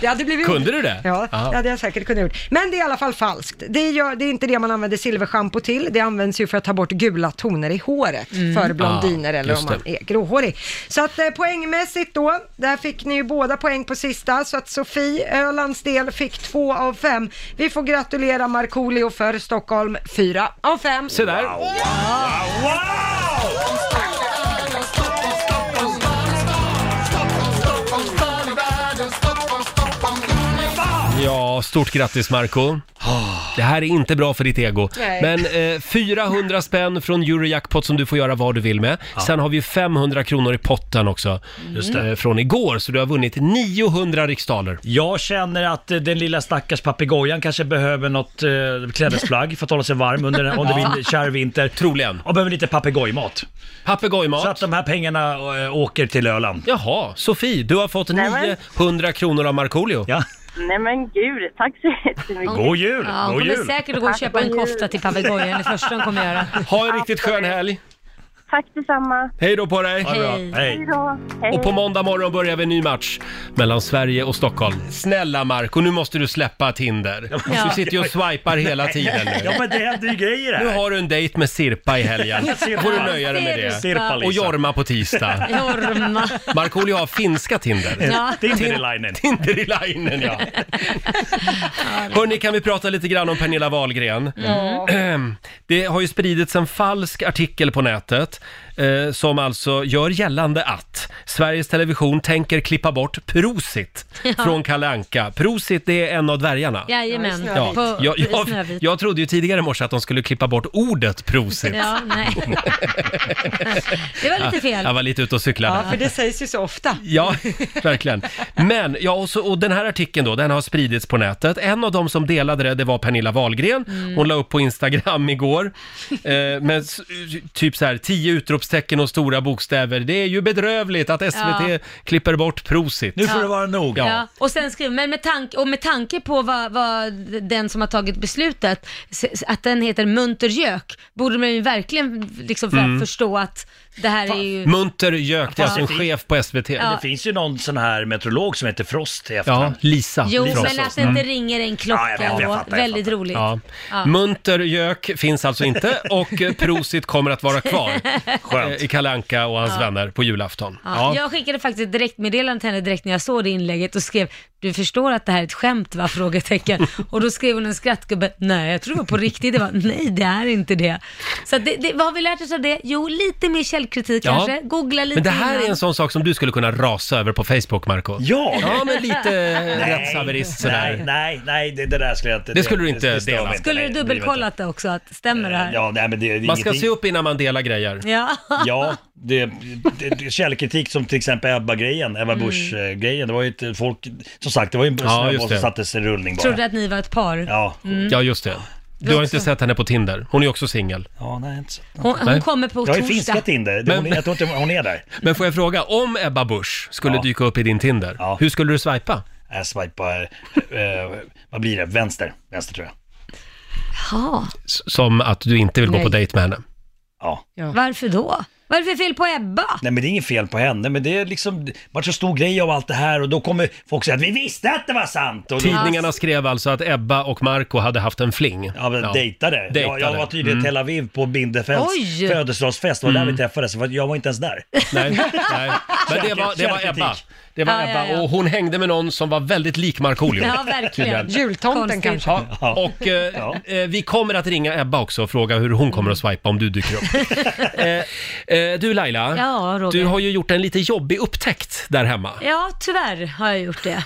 B: Det hade blivit...
A: Kunde du det?
B: Ja,
A: Ja.
B: det hade jag säkert kunnat gjort. Men det är i alla fall falskt. Det, gör, det är inte det man använder silverschampo till. Det används ju för att ta bort gula toner i håret
Q: Mm.
B: för blondiner
Q: Ah,
B: eller om
Q: just
B: man
Q: det.
B: är gråhårig. Så att eh, poängmässigt då, där fick ni ju båda poäng på sista. Så att Sofie Ölands del fick två av fem. Vi får gratulera Markoolio för Stockholm, fyra av fem.
A: Se där. Ja, stort grattis Marco Det här är inte bra för ditt ego.
H: Nej.
A: Men eh, 400 spänn från Eurojackpot som du får göra vad du vill med. Sen har vi 500 kronor i potten också.
G: Just det.
A: eh, Från igår, så du har vunnit 900 riksdaler.
G: Jag känner att eh, den lilla stackars papegojan kanske behöver något eh, klädesplagg för att hålla sig varm under en- om det
A: Ja.
G: blir en kärv vinter.
A: Troligen.
G: Och behöver lite papegojmat.
A: Papegojmat.
G: Så att de här pengarna eh, åker till Öland.
A: Jaha, Sofie, du har fått 900 kronor av Markoolio.
G: Ja.
P: Nej men gud, tack så jättemycket.
A: God jul,
D: Ja, hon
A: god
D: kommer
A: jul.
D: säkert att gå och
P: Tack,
D: köpa en
P: god jul.
D: kofta till papegojan det första hon kommer göra.
A: Ha en riktigt skön helg.
P: Tack detsamma.
A: Hej då på dig.
P: Ha det bra. Hej. Hej då. Hej.
A: Och på måndag morgon börjar vi en ny match mellan Sverige och Stockholm. Snälla Marco, nu måste du släppa Tinder.
G: Ja.
A: Du sitter ju och swipar hela tiden nu.
G: Ja men det händer ju grejer här.
A: Nu har du en dejt med Sirpa i helgen.
G: Sirpa.
A: får du nöja dig med det.
G: Sirpa, Lisa.
A: och Jorma på tisdag.
D: Jorma.
A: Markoolio har finska Tinder.
D: Ja.
G: Tinderilainen.
A: Tinderilainen, ja. Hörni, kan vi prata lite grann om Pernilla Wahlgren?
D: Mm.
A: Det har ju spridits en falsk artikel på nätet eh, som alltså gör gällande att Sveriges Television tänker klippa bort Prosit
D: Ja.
A: från Kalle Anka. Prosit, det är en av dvärgarna.
D: Jajamän.
A: Ja,
D: På-
A: jag,
D: i
A: jag,
D: Snövit.
A: jag trodde ju tidigare i morse att de skulle klippa bort ordet Prosit.
D: Ja, nej. Det var lite fel.
A: Jag var lite ute och cyklade.
B: Ja, för det sägs ju så ofta.
A: Ja, verkligen. Men, ja, och, så, och den här artikeln då, den har spridits på nätet. En av dem som delade det, det var Pernilla Wahlgren.
H: Mm.
A: Hon la upp på Instagram igår, eh, med s- typ så här, tio utropstecken och stora bokstäver. Det är ju bedrövligt att SVT
D: Ja.
A: klipper bort Prosit.
D: Nu får Ja. det vara
G: nog.
A: Ja.
D: Ja, och sen skriver, men med tanke, och med tanke på vad, vad den som har tagit beslutet, s- s- att den heter Munter Gök, borde man ju verkligen liksom för
A: Mm.
D: att förstå att det här är ju...
A: Munter Gök, det är alltså en
G: Ja.
A: chef på SVT.
D: Ja.
G: Det finns ju någon sån här meteorolog som heter Frost i
A: Ja, Mm.
G: efternamn.
A: Lisa.
D: Jo,
A: Frost.
D: men alltså- att det inte ringer en
G: Ja,
D: klocka
G: jag vet, jag
D: och
G: fattar, jag
D: väldigt roligt.
A: Ja.
D: Ja.
A: Munter gök finns alltså inte och eh, Prosit kommer att vara kvar
D: Skönt.
A: eh, i Kalle Anka och hans
D: Ja.
A: vänner på julafton.
D: Ja.
A: Ja.
D: Jag skickade faktiskt ett direktmeddelande till henne direkt när jag såg det inlägget och skrev “Du förstår att det här är ett skämt va?” frågetecken. och då skrev hon en skrattgubbe “Nej, jag tror det var på riktigt”. Det var “Nej, det är inte det”. Så att det, det, vad har vi lärt oss av det? Jo, lite mer källkritik
A: Ja.
D: kanske. Googla lite
A: Men det här
D: innan.
A: är en sån sak som du skulle kunna rasa över på Facebook, Marco
G: Ja!
A: Ja, men lite
G: Nej,
A: rättshaverist sådär.
G: Nej, nej, nej, det, det där skulle jag inte...
A: Det skulle du inte
G: stör mig
A: dela.
D: Skulle
G: Nej,
D: du
G: det bryr jag mig inte.
D: dubbelkollat det också, att stämmer det här?
G: Ja, nej, men det, det är
A: Man ska
G: ingenting-
A: se upp innan man delar grejer.
D: Ja.
G: Ja, det, det, det, källkritik som till exempel Ebba-grejen, Ebba
D: Mm.
G: Busch-grejen. Det var ju ett folk, som sagt, det var ju en
A: Ja,
G: snöboll
A: just
G: som
A: det.
G: sattes i rullning bara.
D: Trodde att ni var ett par.
G: Ja.
D: Mm.
A: Ja, just det. Du har inte sett henne på Tinder. Hon är också singel.
G: Ja, nej, inte så.
D: Hon, hon
A: Nej.
D: kommer på
G: Jag
D: torsdag.
G: är finska Tinder, det, hon,
A: Men-
G: jag tror inte hon är där.
A: Men får jag fråga, om Ebba Busch skulle dyka upp i din Tinder, hur skulle du swipa?
G: Jag Äh, swipar, eh, vad blir det, vänster? Vänster tror jag.
D: Ja.
A: S- Som att du inte vill gå
D: Nej.
A: på dejt med henne?
G: Ja.
D: Varför då? Vad är det för fel på Ebba?
G: Nej men det är inget fel på henne, men det är liksom, det vart så stor grej av allt det här och då kommer folk säga att vi visste att det var sant! Och då,
A: Tidningarna skrev alltså att Ebba och Marco hade haft en fling.
G: Ja, men dejtade. Jag, jag var tydligen i Tel Aviv på Bindefelds
A: Oj!
G: födelsedagsfest, det var där
A: Mm.
G: vi träffades, för jag var inte ens där.
A: Nej, nej. Men det var, det var
G: Källkritik.
A: Ebba. Det var
G: Ja, ja,
A: Ebba
G: ja.
A: och hon hängde med någon som var väldigt lik Markoolio.
D: Ja, verkligen.
A: Tydligen.
B: Jultomten kanske.
A: Ja, och eh, eh, vi kommer att ringa Ebba också och fråga hur hon kommer att swipa om du dyker upp. eh, eh, du Laila,
D: Ja, Roger.
A: du har ju gjort en lite jobbig upptäckt där hemma.
D: Ja, tyvärr har jag gjort det.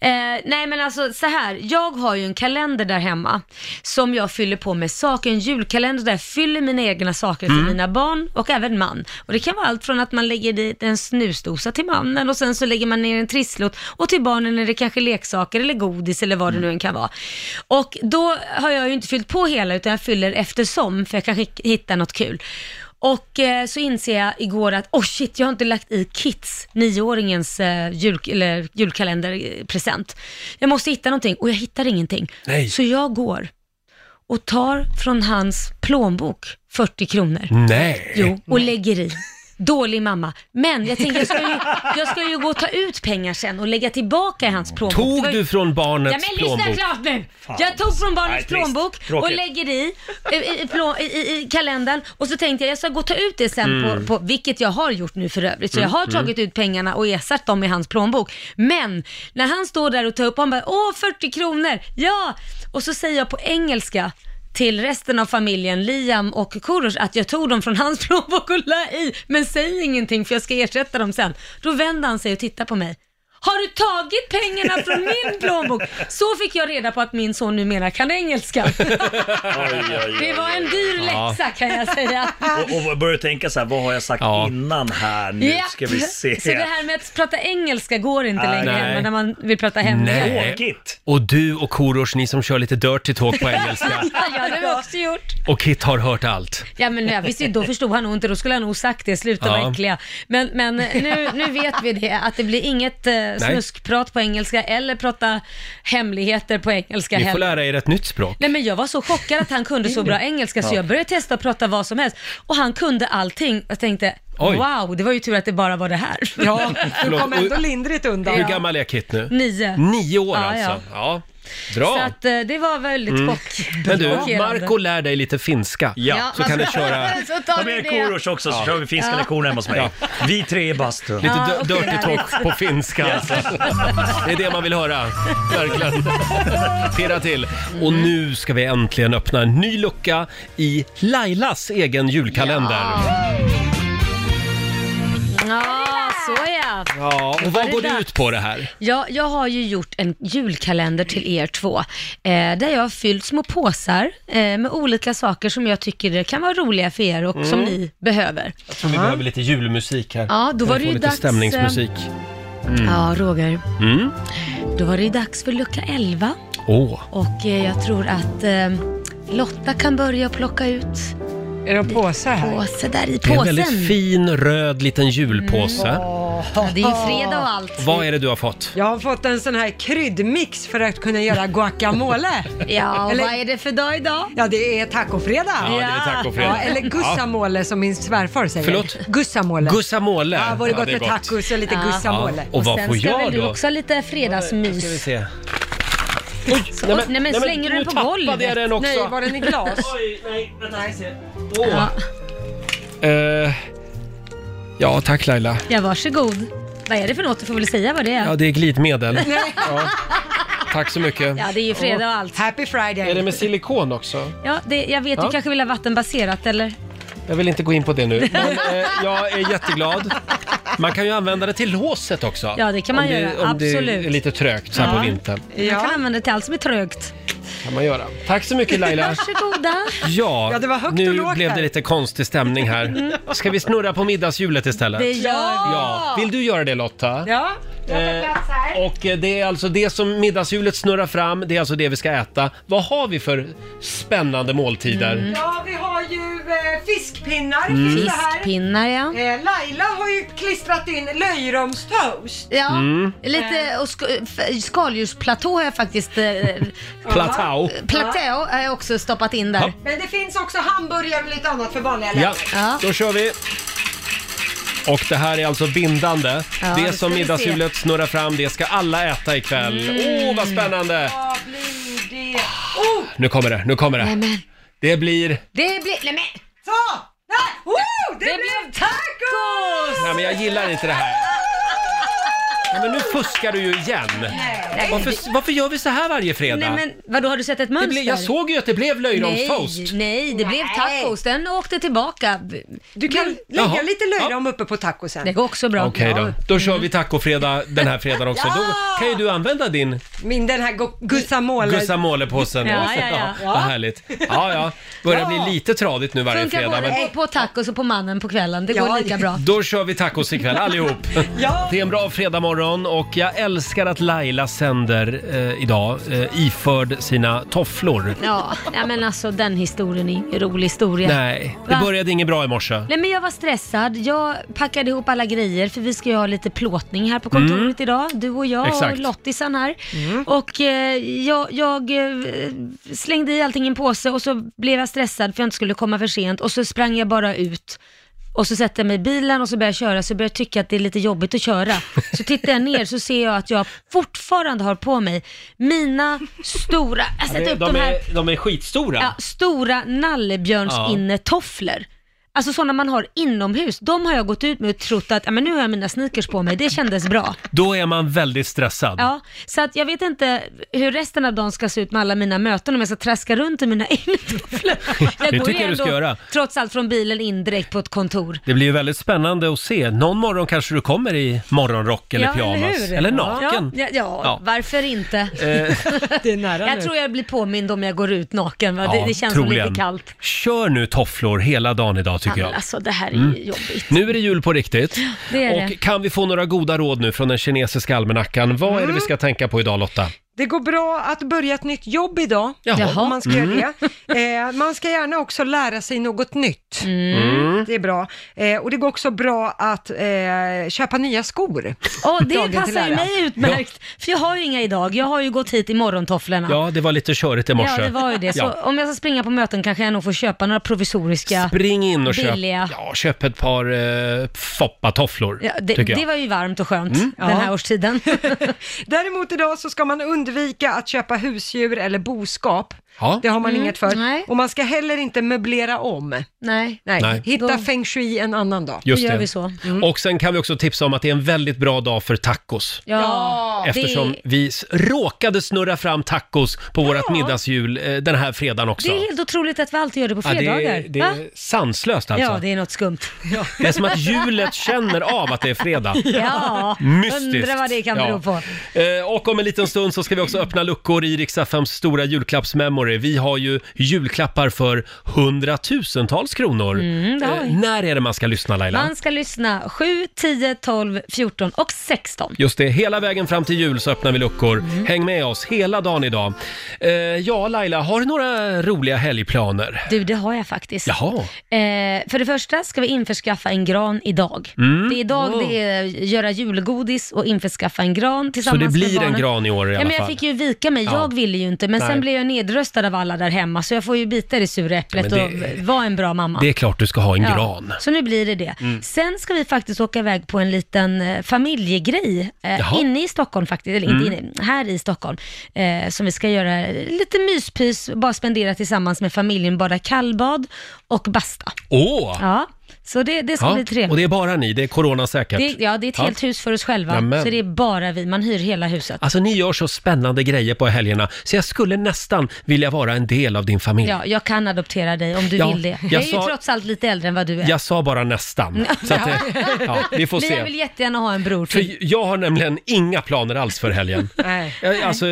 D: Eh, nej men alltså så här, jag har ju en kalender där hemma som jag fyller på med saker, en julkalender där jag fyller mina egna saker till
Q: Mm.
D: mina barn och även man. Och det kan vara allt från att man lägger dit en snusdosa till mannen och sen så lägger man ner en trisslott och till barnen är det kanske leksaker eller godis eller vad det nu än kan vara. Och då har jag ju inte fyllt på hela utan jag fyller eftersom för jag kanske hittar något kul. Och eh, så inser jag igår att, oh shit, jag har inte lagt i Kits, nioåringens eh, jul, eller julkalenderpresent. Jag måste hitta någonting och jag hittar ingenting.
H: Nej.
D: Så jag går och tar från hans plånbok 40 kronor.
H: Nej.
D: Jo, och lägger i. Dålig mamma. Men jag tänker jag ska, ju, jag ska ju gå och ta ut pengar sen och lägga tillbaka i hans plånbok. Det var
A: Tog
D: ju-
A: du från barnets
D: Ja, men
A: plånbok?
D: lyssna klart nu!
A: Fan.
D: Jag tog från
A: Nej,
D: barnets
A: trist.
D: plånbok och
A: Tråkigt.
D: lägger i, i, i, plå- i, i, i kalendern och så tänkte jag jag ska gå och ta ut det sen,
Q: Mm.
D: på, på, vilket jag har gjort nu för övrigt. Så
Q: Mm,
D: jag har
Q: mm.
D: tagit ut pengarna och ersatt dem i hans plånbok. Men när han står där och tar upp, han bara åh 40 kronor, ja! Och så säger jag på engelska till resten av familjen, Liam och Korosh, att jag tog dem från hans plånbok och la i, men säg ingenting för jag ska ersätta dem sen. Då vänder han sig och tittar på mig. har du tagit pengarna från min plånbok? Så fick jag reda på att min son numera kan engelska. Det var en dyr
G: Ja.
D: läxa kan jag säga.
G: Och, och börjar tänka så här, vad har jag sagt innan här? Nu
D: Ja.
G: ska vi se.
D: Så det här med att prata engelska går inte
A: Nej.
D: längre
A: Nej.
D: hemma när man vill prata hemska.
A: Och du och Korosh, ni som kör lite dirty talk på engelska.
D: ja, det har jag också gjort.
A: Och Kit har hört allt.
D: Ja men jag visste ju, då förstod han nog inte, då skulle han nog sagt det, sluta
A: Ja.
D: vara äckliga. Men, men nu, nu vet vi det, att det blir inget eh, snuskprat på engelska eller prata hemligheter på engelska
A: Ni får
D: heller.
A: lära er ett nytt språk.
D: Nej men jag var så chockad att han kunde så bra engelska så
A: Ja.
D: jag började testa att prata vad som helst och han kunde allting. Jag tänkte,
A: Oj.
D: wow, det var ju tur att det bara var det här.
A: Ja,
B: Du
A: Förlåt,
B: kom ändå
A: och-
B: lindrigt undan.
A: Hur gammal är Kit nu?
D: Nio.
A: Nio år
D: Ja, ja.
A: alltså. Ja.
D: Så
A: Bra.
D: att eh, det var väldigt
A: Mm.
D: chock.
A: Men du,
D: chockerande.
A: Marco lär dig lite finska.
D: Ja,
A: Så kan
D: vad
A: du
D: bra.
A: köra...
D: Så tar
G: Ta
D: vi
G: med
D: det.
G: Korosh också så
A: Ja.
G: kör vi finska
D: Ja.
G: lektioner hemma hos mig. Vi tre i bastun.
A: Lite
D: Ja,
A: dö-
D: okej,
A: dirty talk
D: härligt.
A: på finska alltså. Det är det man vill höra. Verkligen. Pirra till. Och nu ska vi äntligen öppna en ny lucka i Lailas egen julkalender.
D: Ja, så ja.
A: Ja, och
D: Var
A: vad
D: det
A: går det
D: dags?
A: ut på det här?
D: Ja, jag har ju gjort en julkalender till er två, eh, där jag har fyllt små påsar eh, med olika saker som jag tycker kan vara roliga för er och som
A: Mm.
D: ni behöver.
A: Jag tror vi behöver lite julmusik här.
D: Ja, då
A: Kan
D: var
A: vi få
D: det ju
A: lite
D: dags, eh,
A: stämningsmusik. Mm.
D: Ja, Roger,
A: Mm.
D: då var det ju dags för lucka 11
A: Åh.
D: och eh, jag tror att eh, Lotta kan börja plocka ut
B: Är det en påse här?
D: Påse där i
A: Det är en
D: påsen. Mm.
A: väldigt fin röd liten julpåse.
D: Ja, det är ju fredag och allt.
A: Vad är det du har fått?
B: Jag har fått en sån här kryddmix för att kunna göra guacamole.
D: Ja, och vad är det för dag idag?
B: Ja, det är tacofredag.
A: Ja, det är tacofredag.
B: Ja, eller gussamole som min svärfar säger.
A: Förlåt?
B: Gussamole.
A: Gussamole.
B: Ja, vore
A: Ja,
B: gott
A: det är
B: med
A: gott.
B: tacos och lite gussamole.
A: Ja, och vad
D: sen
A: får
D: ska
A: jag
D: väl du
A: då?
D: också ha lite fredagsmys.
A: Ska vi se.
D: Så- nej, men, slänger du den på golvet?
A: tappade jag den också.
D: Nej, var den i glas?
G: Oj, nej, vänta, ska se.
D: Ja,
A: Eh, ja, tack Laila.
D: ja, varsågod. Vad är det för något? Du får väl säga vad det är.
A: Ja, det är glidmedel.
D: Nej.
A: Ja. Tack så mycket.
D: Ja, det är ju fredag och allt.
B: Happy Friday.
A: Är det med silikon också?
D: Ja, det, jag vet,
A: Ja.
D: du kanske vill ha vattenbaserat eller?
A: Jag vill inte gå in på det nu, men eh, jag är jätteglad. Man kan ju använda det till låset också.
D: Ja, det kan man
A: om det,
D: göra.
A: Om det
D: Absolut.
A: är lite trögt så här
D: Ja.
A: på vintern.
D: Man kan använda det till allt som är trögt.
A: kan man göra. Tack så mycket Laila.
D: Varsågoda.
A: Ja,
D: Ja, det var högt och
A: nu
D: lågt
A: blev det
D: där.
A: lite konstig stämning här. Ska vi snurra på middagshjulet istället?
D: Det gör vi.
A: Ja. Vill du göra det Lotta?
B: Ja.
A: Eh, och eh, det är alltså det som middagshjulet snurrar fram, det är alltså det vi ska äta. Vad har vi för spännande måltider?
B: Ja, vi har ju eh, fiskpinnar.
A: Mm.
B: finns det här.
D: Fiskpinnar ja.
B: Eh, Laila har ju klistrat in löjromstoast.
D: Ja,
A: Mm.
D: lite och sk f- skaldjursplatå har jag faktiskt... Eh,
A: Platå.
D: Platå har jag också stoppat in där.
A: Ja.
B: Men det finns också hamburgare och lite annat för vanliga
A: Ja,
B: länder.
A: då kör vi. Och det här är alltså bindande.
B: Ja,
A: det
B: det ska
A: som
B: vi se.
A: middagshjulet snurrar fram, det ska alla äta ikväll. Åh, vad spännande!
B: Mm. Vad blir det? Oh!
A: Nu kommer det, nu kommer det. Det blir...
D: Det blir... Nej men!
B: Så! Nej! Oh, det, blev tacos!
A: Nej men jag gillar inte det här. Nej, men nu fuskar du ju igen.
D: Nej.
A: Varför, varför gör vi så här varje fredag?
D: Nej men vadå, har du sett ett
A: det
D: mönster?
A: blev, jag såg ju att det blev löjromstoast.
D: Nej, nej, det blev tacos. Den åkte tillbaka.
B: Du kan lägga
A: Jaha.
B: lite löjrom uppe på tacosen.
D: Det går också bra.
A: Okej då, då kör vi tacofredag den här fredagen också. Då kan ju du använda din
B: Min den här gu- guacamole.
A: guacamole-påsen.
D: Ja, ja, ja.
A: Vad härligt. Ja, ja. Börjar
D: Ja.
A: bli lite tradigt nu varje
D: Funkar
A: fredag.
D: både
A: Men
D: på, på tacos och på mannen på kvällen. Det går lika bra.
A: då kör vi tacos ikväll allihop. Det är en bra fredagmorgon och jag älskar att Laila sänder eh, idag eh, iförd sina tofflor.
D: Ja, nej, men alltså den historien är ingen rolig historia.
A: Nej, det
D: Va?
A: började inget bra i morse.
D: Nej men jag var stressad, jag packade ihop alla grejer för vi ska ju ha lite plåtning här på kontoret
A: Mm.
D: idag, du och jag
A: Exakt. Mm.
D: och Lottisan här. Och eh, jag, jag eh, slängde i allting i en påse och så blev jag stressad för jag inte skulle komma för sent och så sprang jag bara ut. Och så sätter jag mig i bilen och så börjar jag köra, så börjar jag tycka att det är lite jobbigt att köra. Så tittar jag ner så ser jag att jag fortfarande har på mig mina stora, jag sätter upp de här
A: de är skitstora.
D: Ja, stora nallebjörnsinnertofflor. Alltså sådana man har inomhus, de har jag gått ut med och trott att "Ja, men nu har jag mina sneakers på mig, det kändes bra.
A: Då är man väldigt stressad.
D: Ja, så att jag vet inte hur resten av dagen ska se ut med alla mina möten om jag ska traska runt i mina innetofflor. Jag
A: Det
D: går ju
A: tycker jag du ska
D: ändå,
A: göra.
D: trots allt från bilen in direkt på ett kontor.
A: Det blir ju väldigt spännande att se. Någon morgon kanske du kommer i morgonrock eller
D: Ja,
A: pyjamas.
D: hur?
A: Eller, naken.
D: Ja, ja, ja,
A: Ja.
D: varför inte?
A: Eh.
D: det är nära jag
A: nu.
D: tror jag blir påmind om jag går ut naken. Va? det,
A: Ja,
D: det känns som lite
A: troligen.
D: kallt.
A: Kör nu tofflor hela dagen idag tycker
D: Ja,
A: jag.
D: men Alltså det här är ju
A: Mm.
D: jobbigt.
A: Nu är det jul på riktigt.
D: Det är
A: och
D: det.
A: kan vi få några goda råd nu från den kinesiska almanackan? Vad
D: Mm.
A: är det vi ska tänka på idag Lotta?
B: Det går bra att börja ett nytt jobb idag,
A: Jaha.
B: om man ska göra
A: Mm.
B: det. Eh, man ska gärna också lära sig något nytt.
A: Mm.
B: Det är bra. Eh, och det går också bra att eh, köpa nya skor.
D: Åh, det
B: Dagen till
D: passar ju
B: ära.
D: mig utmärkt. För jag har ju inga idag. Jag har ju gått hit i morgontofflorna.
A: Ja, det var lite körigt i morse.
D: Ja, det var ju det. Så
A: Ja.
D: om jag ska springa på möten kanske jag nog får köpa några provisoriska,
A: Spring in och köp,
D: billiga.
A: ja, köp ett par eh, foppatofflor,
D: Ja, det,
A: tycker jag.
D: det var ju varmt och skönt
A: Mm.
D: den här
B: Ja.
D: årstiden.
B: Däremot idag så ska man undvika att köpa husdjur eller boskap.
A: Ja.
B: Det har man
D: Mm,
B: inget för.
D: nej.
B: Och man ska heller inte möblera om.
D: Nej.
B: Nej.
A: Nej.
B: Hitta feng shui en annan dag.
A: Just det.
D: Mm.
A: Och sen kan vi också tipsa om att det är en väldigt bra dag för tacos.
B: Ja,
A: Eftersom vi s- råkade snurra fram tacos på vårt middagshjul eh, den här fredagen också.
D: Det är helt otroligt att vi alltid gör det på
A: Ja, det
D: fredagar.
A: är, det
D: Va?
A: är sanslöst alltså.
D: Ja, det är något skumt.
A: Det är som att hjulet känner av att det är fredag.
D: Ja,
A: Mystiskt.
D: undrar vad det kan
A: Ja.
D: bero på.
A: Eh, Och om en liten stund så ska vi också öppna luckor i Riksaffems stora julklappsmemory. Vi har ju julklappar för hundratusentals kronor. Eh,
D: Mm, det har vi.
A: när är det man ska lyssna Laila?
D: Man ska lyssna 7, 10, 12, 14 och 16.
A: Just det, hela vägen fram till jul så öppnar vi luckor.
D: Mm.
A: Häng med oss hela dagen idag. Eh, ja, Laila, har du några roliga helgplaner?
D: Du, det har jag faktiskt.
A: Jaha.
D: Eh, för det första ska vi införskaffa en gran idag.
A: Mm.
D: Det är idag
A: Oh.
D: det är göra julgodis och införskaffa en gran
A: Så
D: tillsammans
A: det
D: med
A: blir en
D: barnen.
A: gran i år i
D: ja,
A: alla
D: men jag
A: fall.
D: fick ju vika mig,
A: Ja.
D: jag ville ju inte, men
A: Nej.
D: sen blev jag nedröstad av alla där hemma, så jag får ju bita i det sura äpplet
A: Ja, men det-
D: och vara en bra mamma.
A: Det är klart du ska ha en
D: Ja,
A: gran.
D: Så nu blir det det.
A: Mm.
D: Sen ska vi faktiskt åka iväg på en liten eh, familjegrej eh,
A: Jaha.
D: inne i Stockholm faktiskt, eller inte
A: Mm.
D: inne, här i Stockholm, eh, som vi ska göra lite myspys, bara spendera tillsammans med familjen, bara kallbad och basta.
A: Åh!
D: Ja, så det, det ska
A: Ja,
D: bli
A: Och
D: trevligt.
A: det är bara ni, det är coronasäkert.
D: Det, ja, det är ett
A: Ja.
D: helt hus för oss själva,
A: Jamen.
D: så det är bara vi, man hyr hela huset.
A: Alltså ni gör så spännande grejer på helgerna så jag skulle nästan vilja vara en del av din familj.
D: Ja, jag kan adoptera dig om du
A: Ja,
D: vill det.
A: jag
D: Jag, är
A: sa-
D: ju trots allt lite äldre än vad du är.
A: Jag sa bara nästan. Så att, det- ja, vi får
D: Men jag vill
A: se.
D: jättegärna ha en bror till.
A: För jag har nämligen inga planer alls för helgen.
B: Nej.
A: Jag, alltså,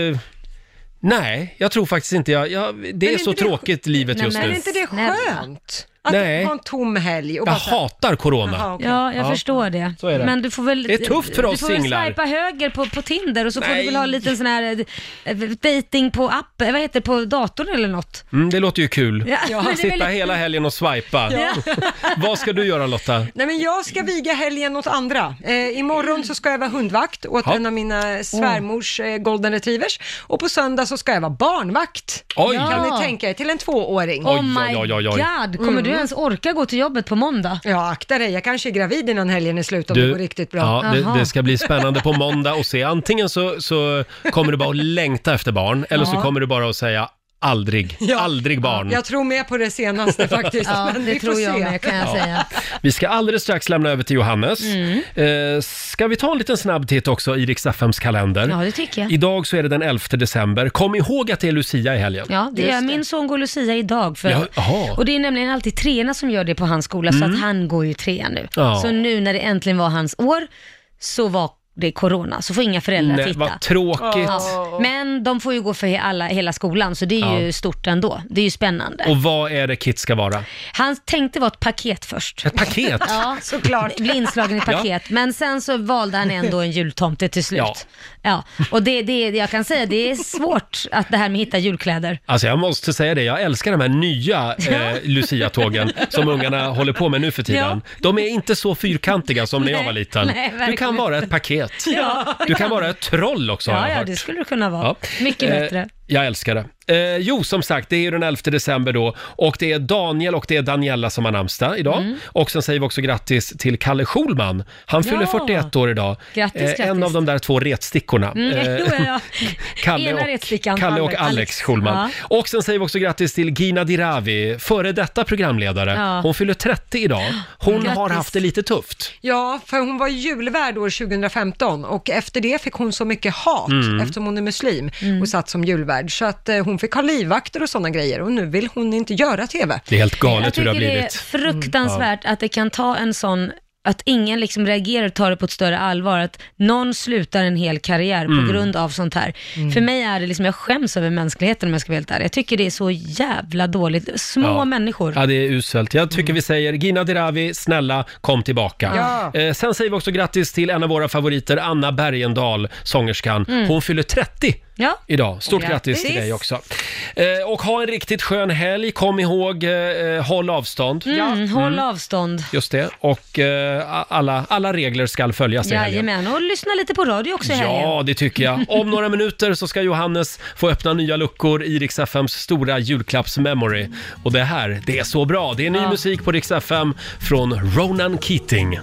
A: nej, jag tror faktiskt inte jag... jag det är, så tråkigt livet
B: Nej,
A: just
B: men
A: nu.
B: är inte det skönt? Att
A: Nej.
B: ha en tom helg och
A: Jag
B: bara så här-
A: hatar corona.
B: Jaha, okej.
D: Ja, jag
A: Ja.
D: förstår det.
A: Så är det.
D: Men du får väl...
A: Det är tufft för oss
D: Du får väl
A: singlar.
D: swipa höger på, på Tinder och så får
A: Nej.
D: du väl ha en liten sån här eh, dating på app, eh, vad heter det, på datorn eller något.
A: Mm, det låter ju kul.
D: Ja, men det är
A: Sitta
D: väldigt-
A: hela helgen och swipa.
B: Ja.
A: Vad ska du göra Lotta?
B: Nej men jag ska viga helgen åt andra. Eh, imorgon så ska jag vara hundvakt åt
A: Ja.
B: en av mina svärmors eh, golden retrievers och på söndag så ska jag vara barnvakt.
A: Oj.
B: Kan
D: Ja.
B: ni tänka er, till en tvååring.
D: Oh my god, kommer
A: Mm.
D: du ens orka gå till jobbet på måndag?
B: Ja, akta dig. Jag kanske är gravid innan helgen är slut om det går riktigt bra.
A: Ja, det, det ska bli spännande på måndag och se. Antingen så, så kommer du bara att längta efter barn eller så
B: Ja.
A: kommer du bara att säga aldrig, aldrig barn.
B: Jag tror mer på det senaste faktiskt.
D: Ja,
B: men
D: det
B: vi får
D: tror jag
B: se.
D: med, kan jag
A: Ja.
D: säga.
A: Vi ska alldeles strax lämna över till Johannes.
D: Mm.
A: Eh, ska vi ta en liten snabb titt också i Rix FMs kalender?
D: Ja, det tycker jag.
A: Idag så är det den 11 december. Kom ihåg att det är Lucia i helgen.
D: Ja, det gör min son går Lucia idag. För,
A: Ja, jaha. Mm.
D: och det är nämligen alltid treorna som gör det på hans skola, så att han går ju trean nu.
A: Ja.
D: Så nu när det äntligen var hans år, så var det corona, så får inga föräldrar
A: Nej,
D: titta.
A: vad tråkigt.
D: Ja. Men de får ju gå för he- alla, hela skolan, så det är
A: Ja.
D: ju stort ändå. Det är ju spännande.
A: Och vad är det Kit ska vara?
D: Han tänkte vara ett paket först.
A: Ett paket?
D: Ja, såklart. Bli inslagen i paket. Men sen så valde han ändå en jultomte till slut.
A: Ja.
D: Ja. Och det, det, jag kan säga, det är svårt att det här med att hitta julkläder.
A: Alltså jag måste säga det, jag älskar de här nya eh, Lucia-tågen som ungarna håller på med nu för tiden. De är inte så fyrkantiga som när jag var liten.
D: nej,
A: du kan
D: verkligen
A: vara ett paket.
D: Ja, det
A: du kan
D: kan
A: vara ett troll också har
D: Ja,
A: jag
D: ja,
A: hört.
D: det skulle det kunna vara.
A: Ja.
D: Mycket
A: Eh,
D: bättre.
A: Jag älskar det. Eh, jo, som sagt, det är ju den 11 december då och det är Daniel och det är Daniela som har namnsdag idag.
D: Mm.
A: Och sen säger vi också grattis till Kalle Schulman. Han fyller
D: Ja.
A: 41 år idag. Eh,
D: Grattis,
A: En
D: grattis.
A: av de där två retstickorna.
D: Mm,
A: Eh,
D: jo, ja, ja.
A: Kalle
D: Ena
A: och-
D: retstickan,
A: Kalle och Alex Schulman.
D: Ja.
A: Och sen säger vi också grattis till Gina Dirawi, före detta programledare.
B: Ja.
A: Hon fyller 30 idag. Hon
B: Grattis.
A: har haft det lite tufft.
B: Ja, för hon var ju julvärd år 2015 och efter det fick hon så mycket hat
A: Mm.
B: eftersom hon är muslim och satt som julvärd så att eh, hon fick ha livvakter och sådana grejer och nu vill hon inte göra TV.
A: Det är helt
D: Jag
A: galet hur
D: tycker
A: det har
D: det är
A: blivit. Mm,
D: fruktansvärt att det kan ta en sån, att ingen liksom reagerar och tar det på ett större allvar, att någon slutar en hel karriär
A: Mm.
D: på grund av sånt här.
A: Mm.
D: För mig är det liksom, jag skäms över mänskligheten om jag ska vara helt ärlig. Jag tycker det är så jävla dåligt. Små
A: Ja.
D: människor.
A: Ja, det är uselt. Jag
D: Mm.
A: tycker vi säger Gina Dirawi, snälla kom tillbaka.
D: Ja.
A: Eh, sen säger vi också grattis till en av våra favoriter, Anna Bergendahl, sångerskan.
D: Mm.
A: Hon fyller 30
D: Ja.
A: idag. Stort
D: Grattis.
A: grattis, till dig också. Eh, och ha en riktigt skön helg. Kom ihåg, eh, eh, håll avstånd.
D: Mm, håll
A: Mm,
D: avstånd.
A: Just det. Och eh, a- alla, alla regler ska följas i helgen.
D: Jajamän, och lyssna lite på radio också i
A: Ja,
D: helgen.
A: det tycker jag. Om några minuter så ska Johannes få öppna nya luckor i Rix FMs stora julklappsmemory. Och det här, det är så bra. Det är ny musik på Rix FM från Ronan Keating.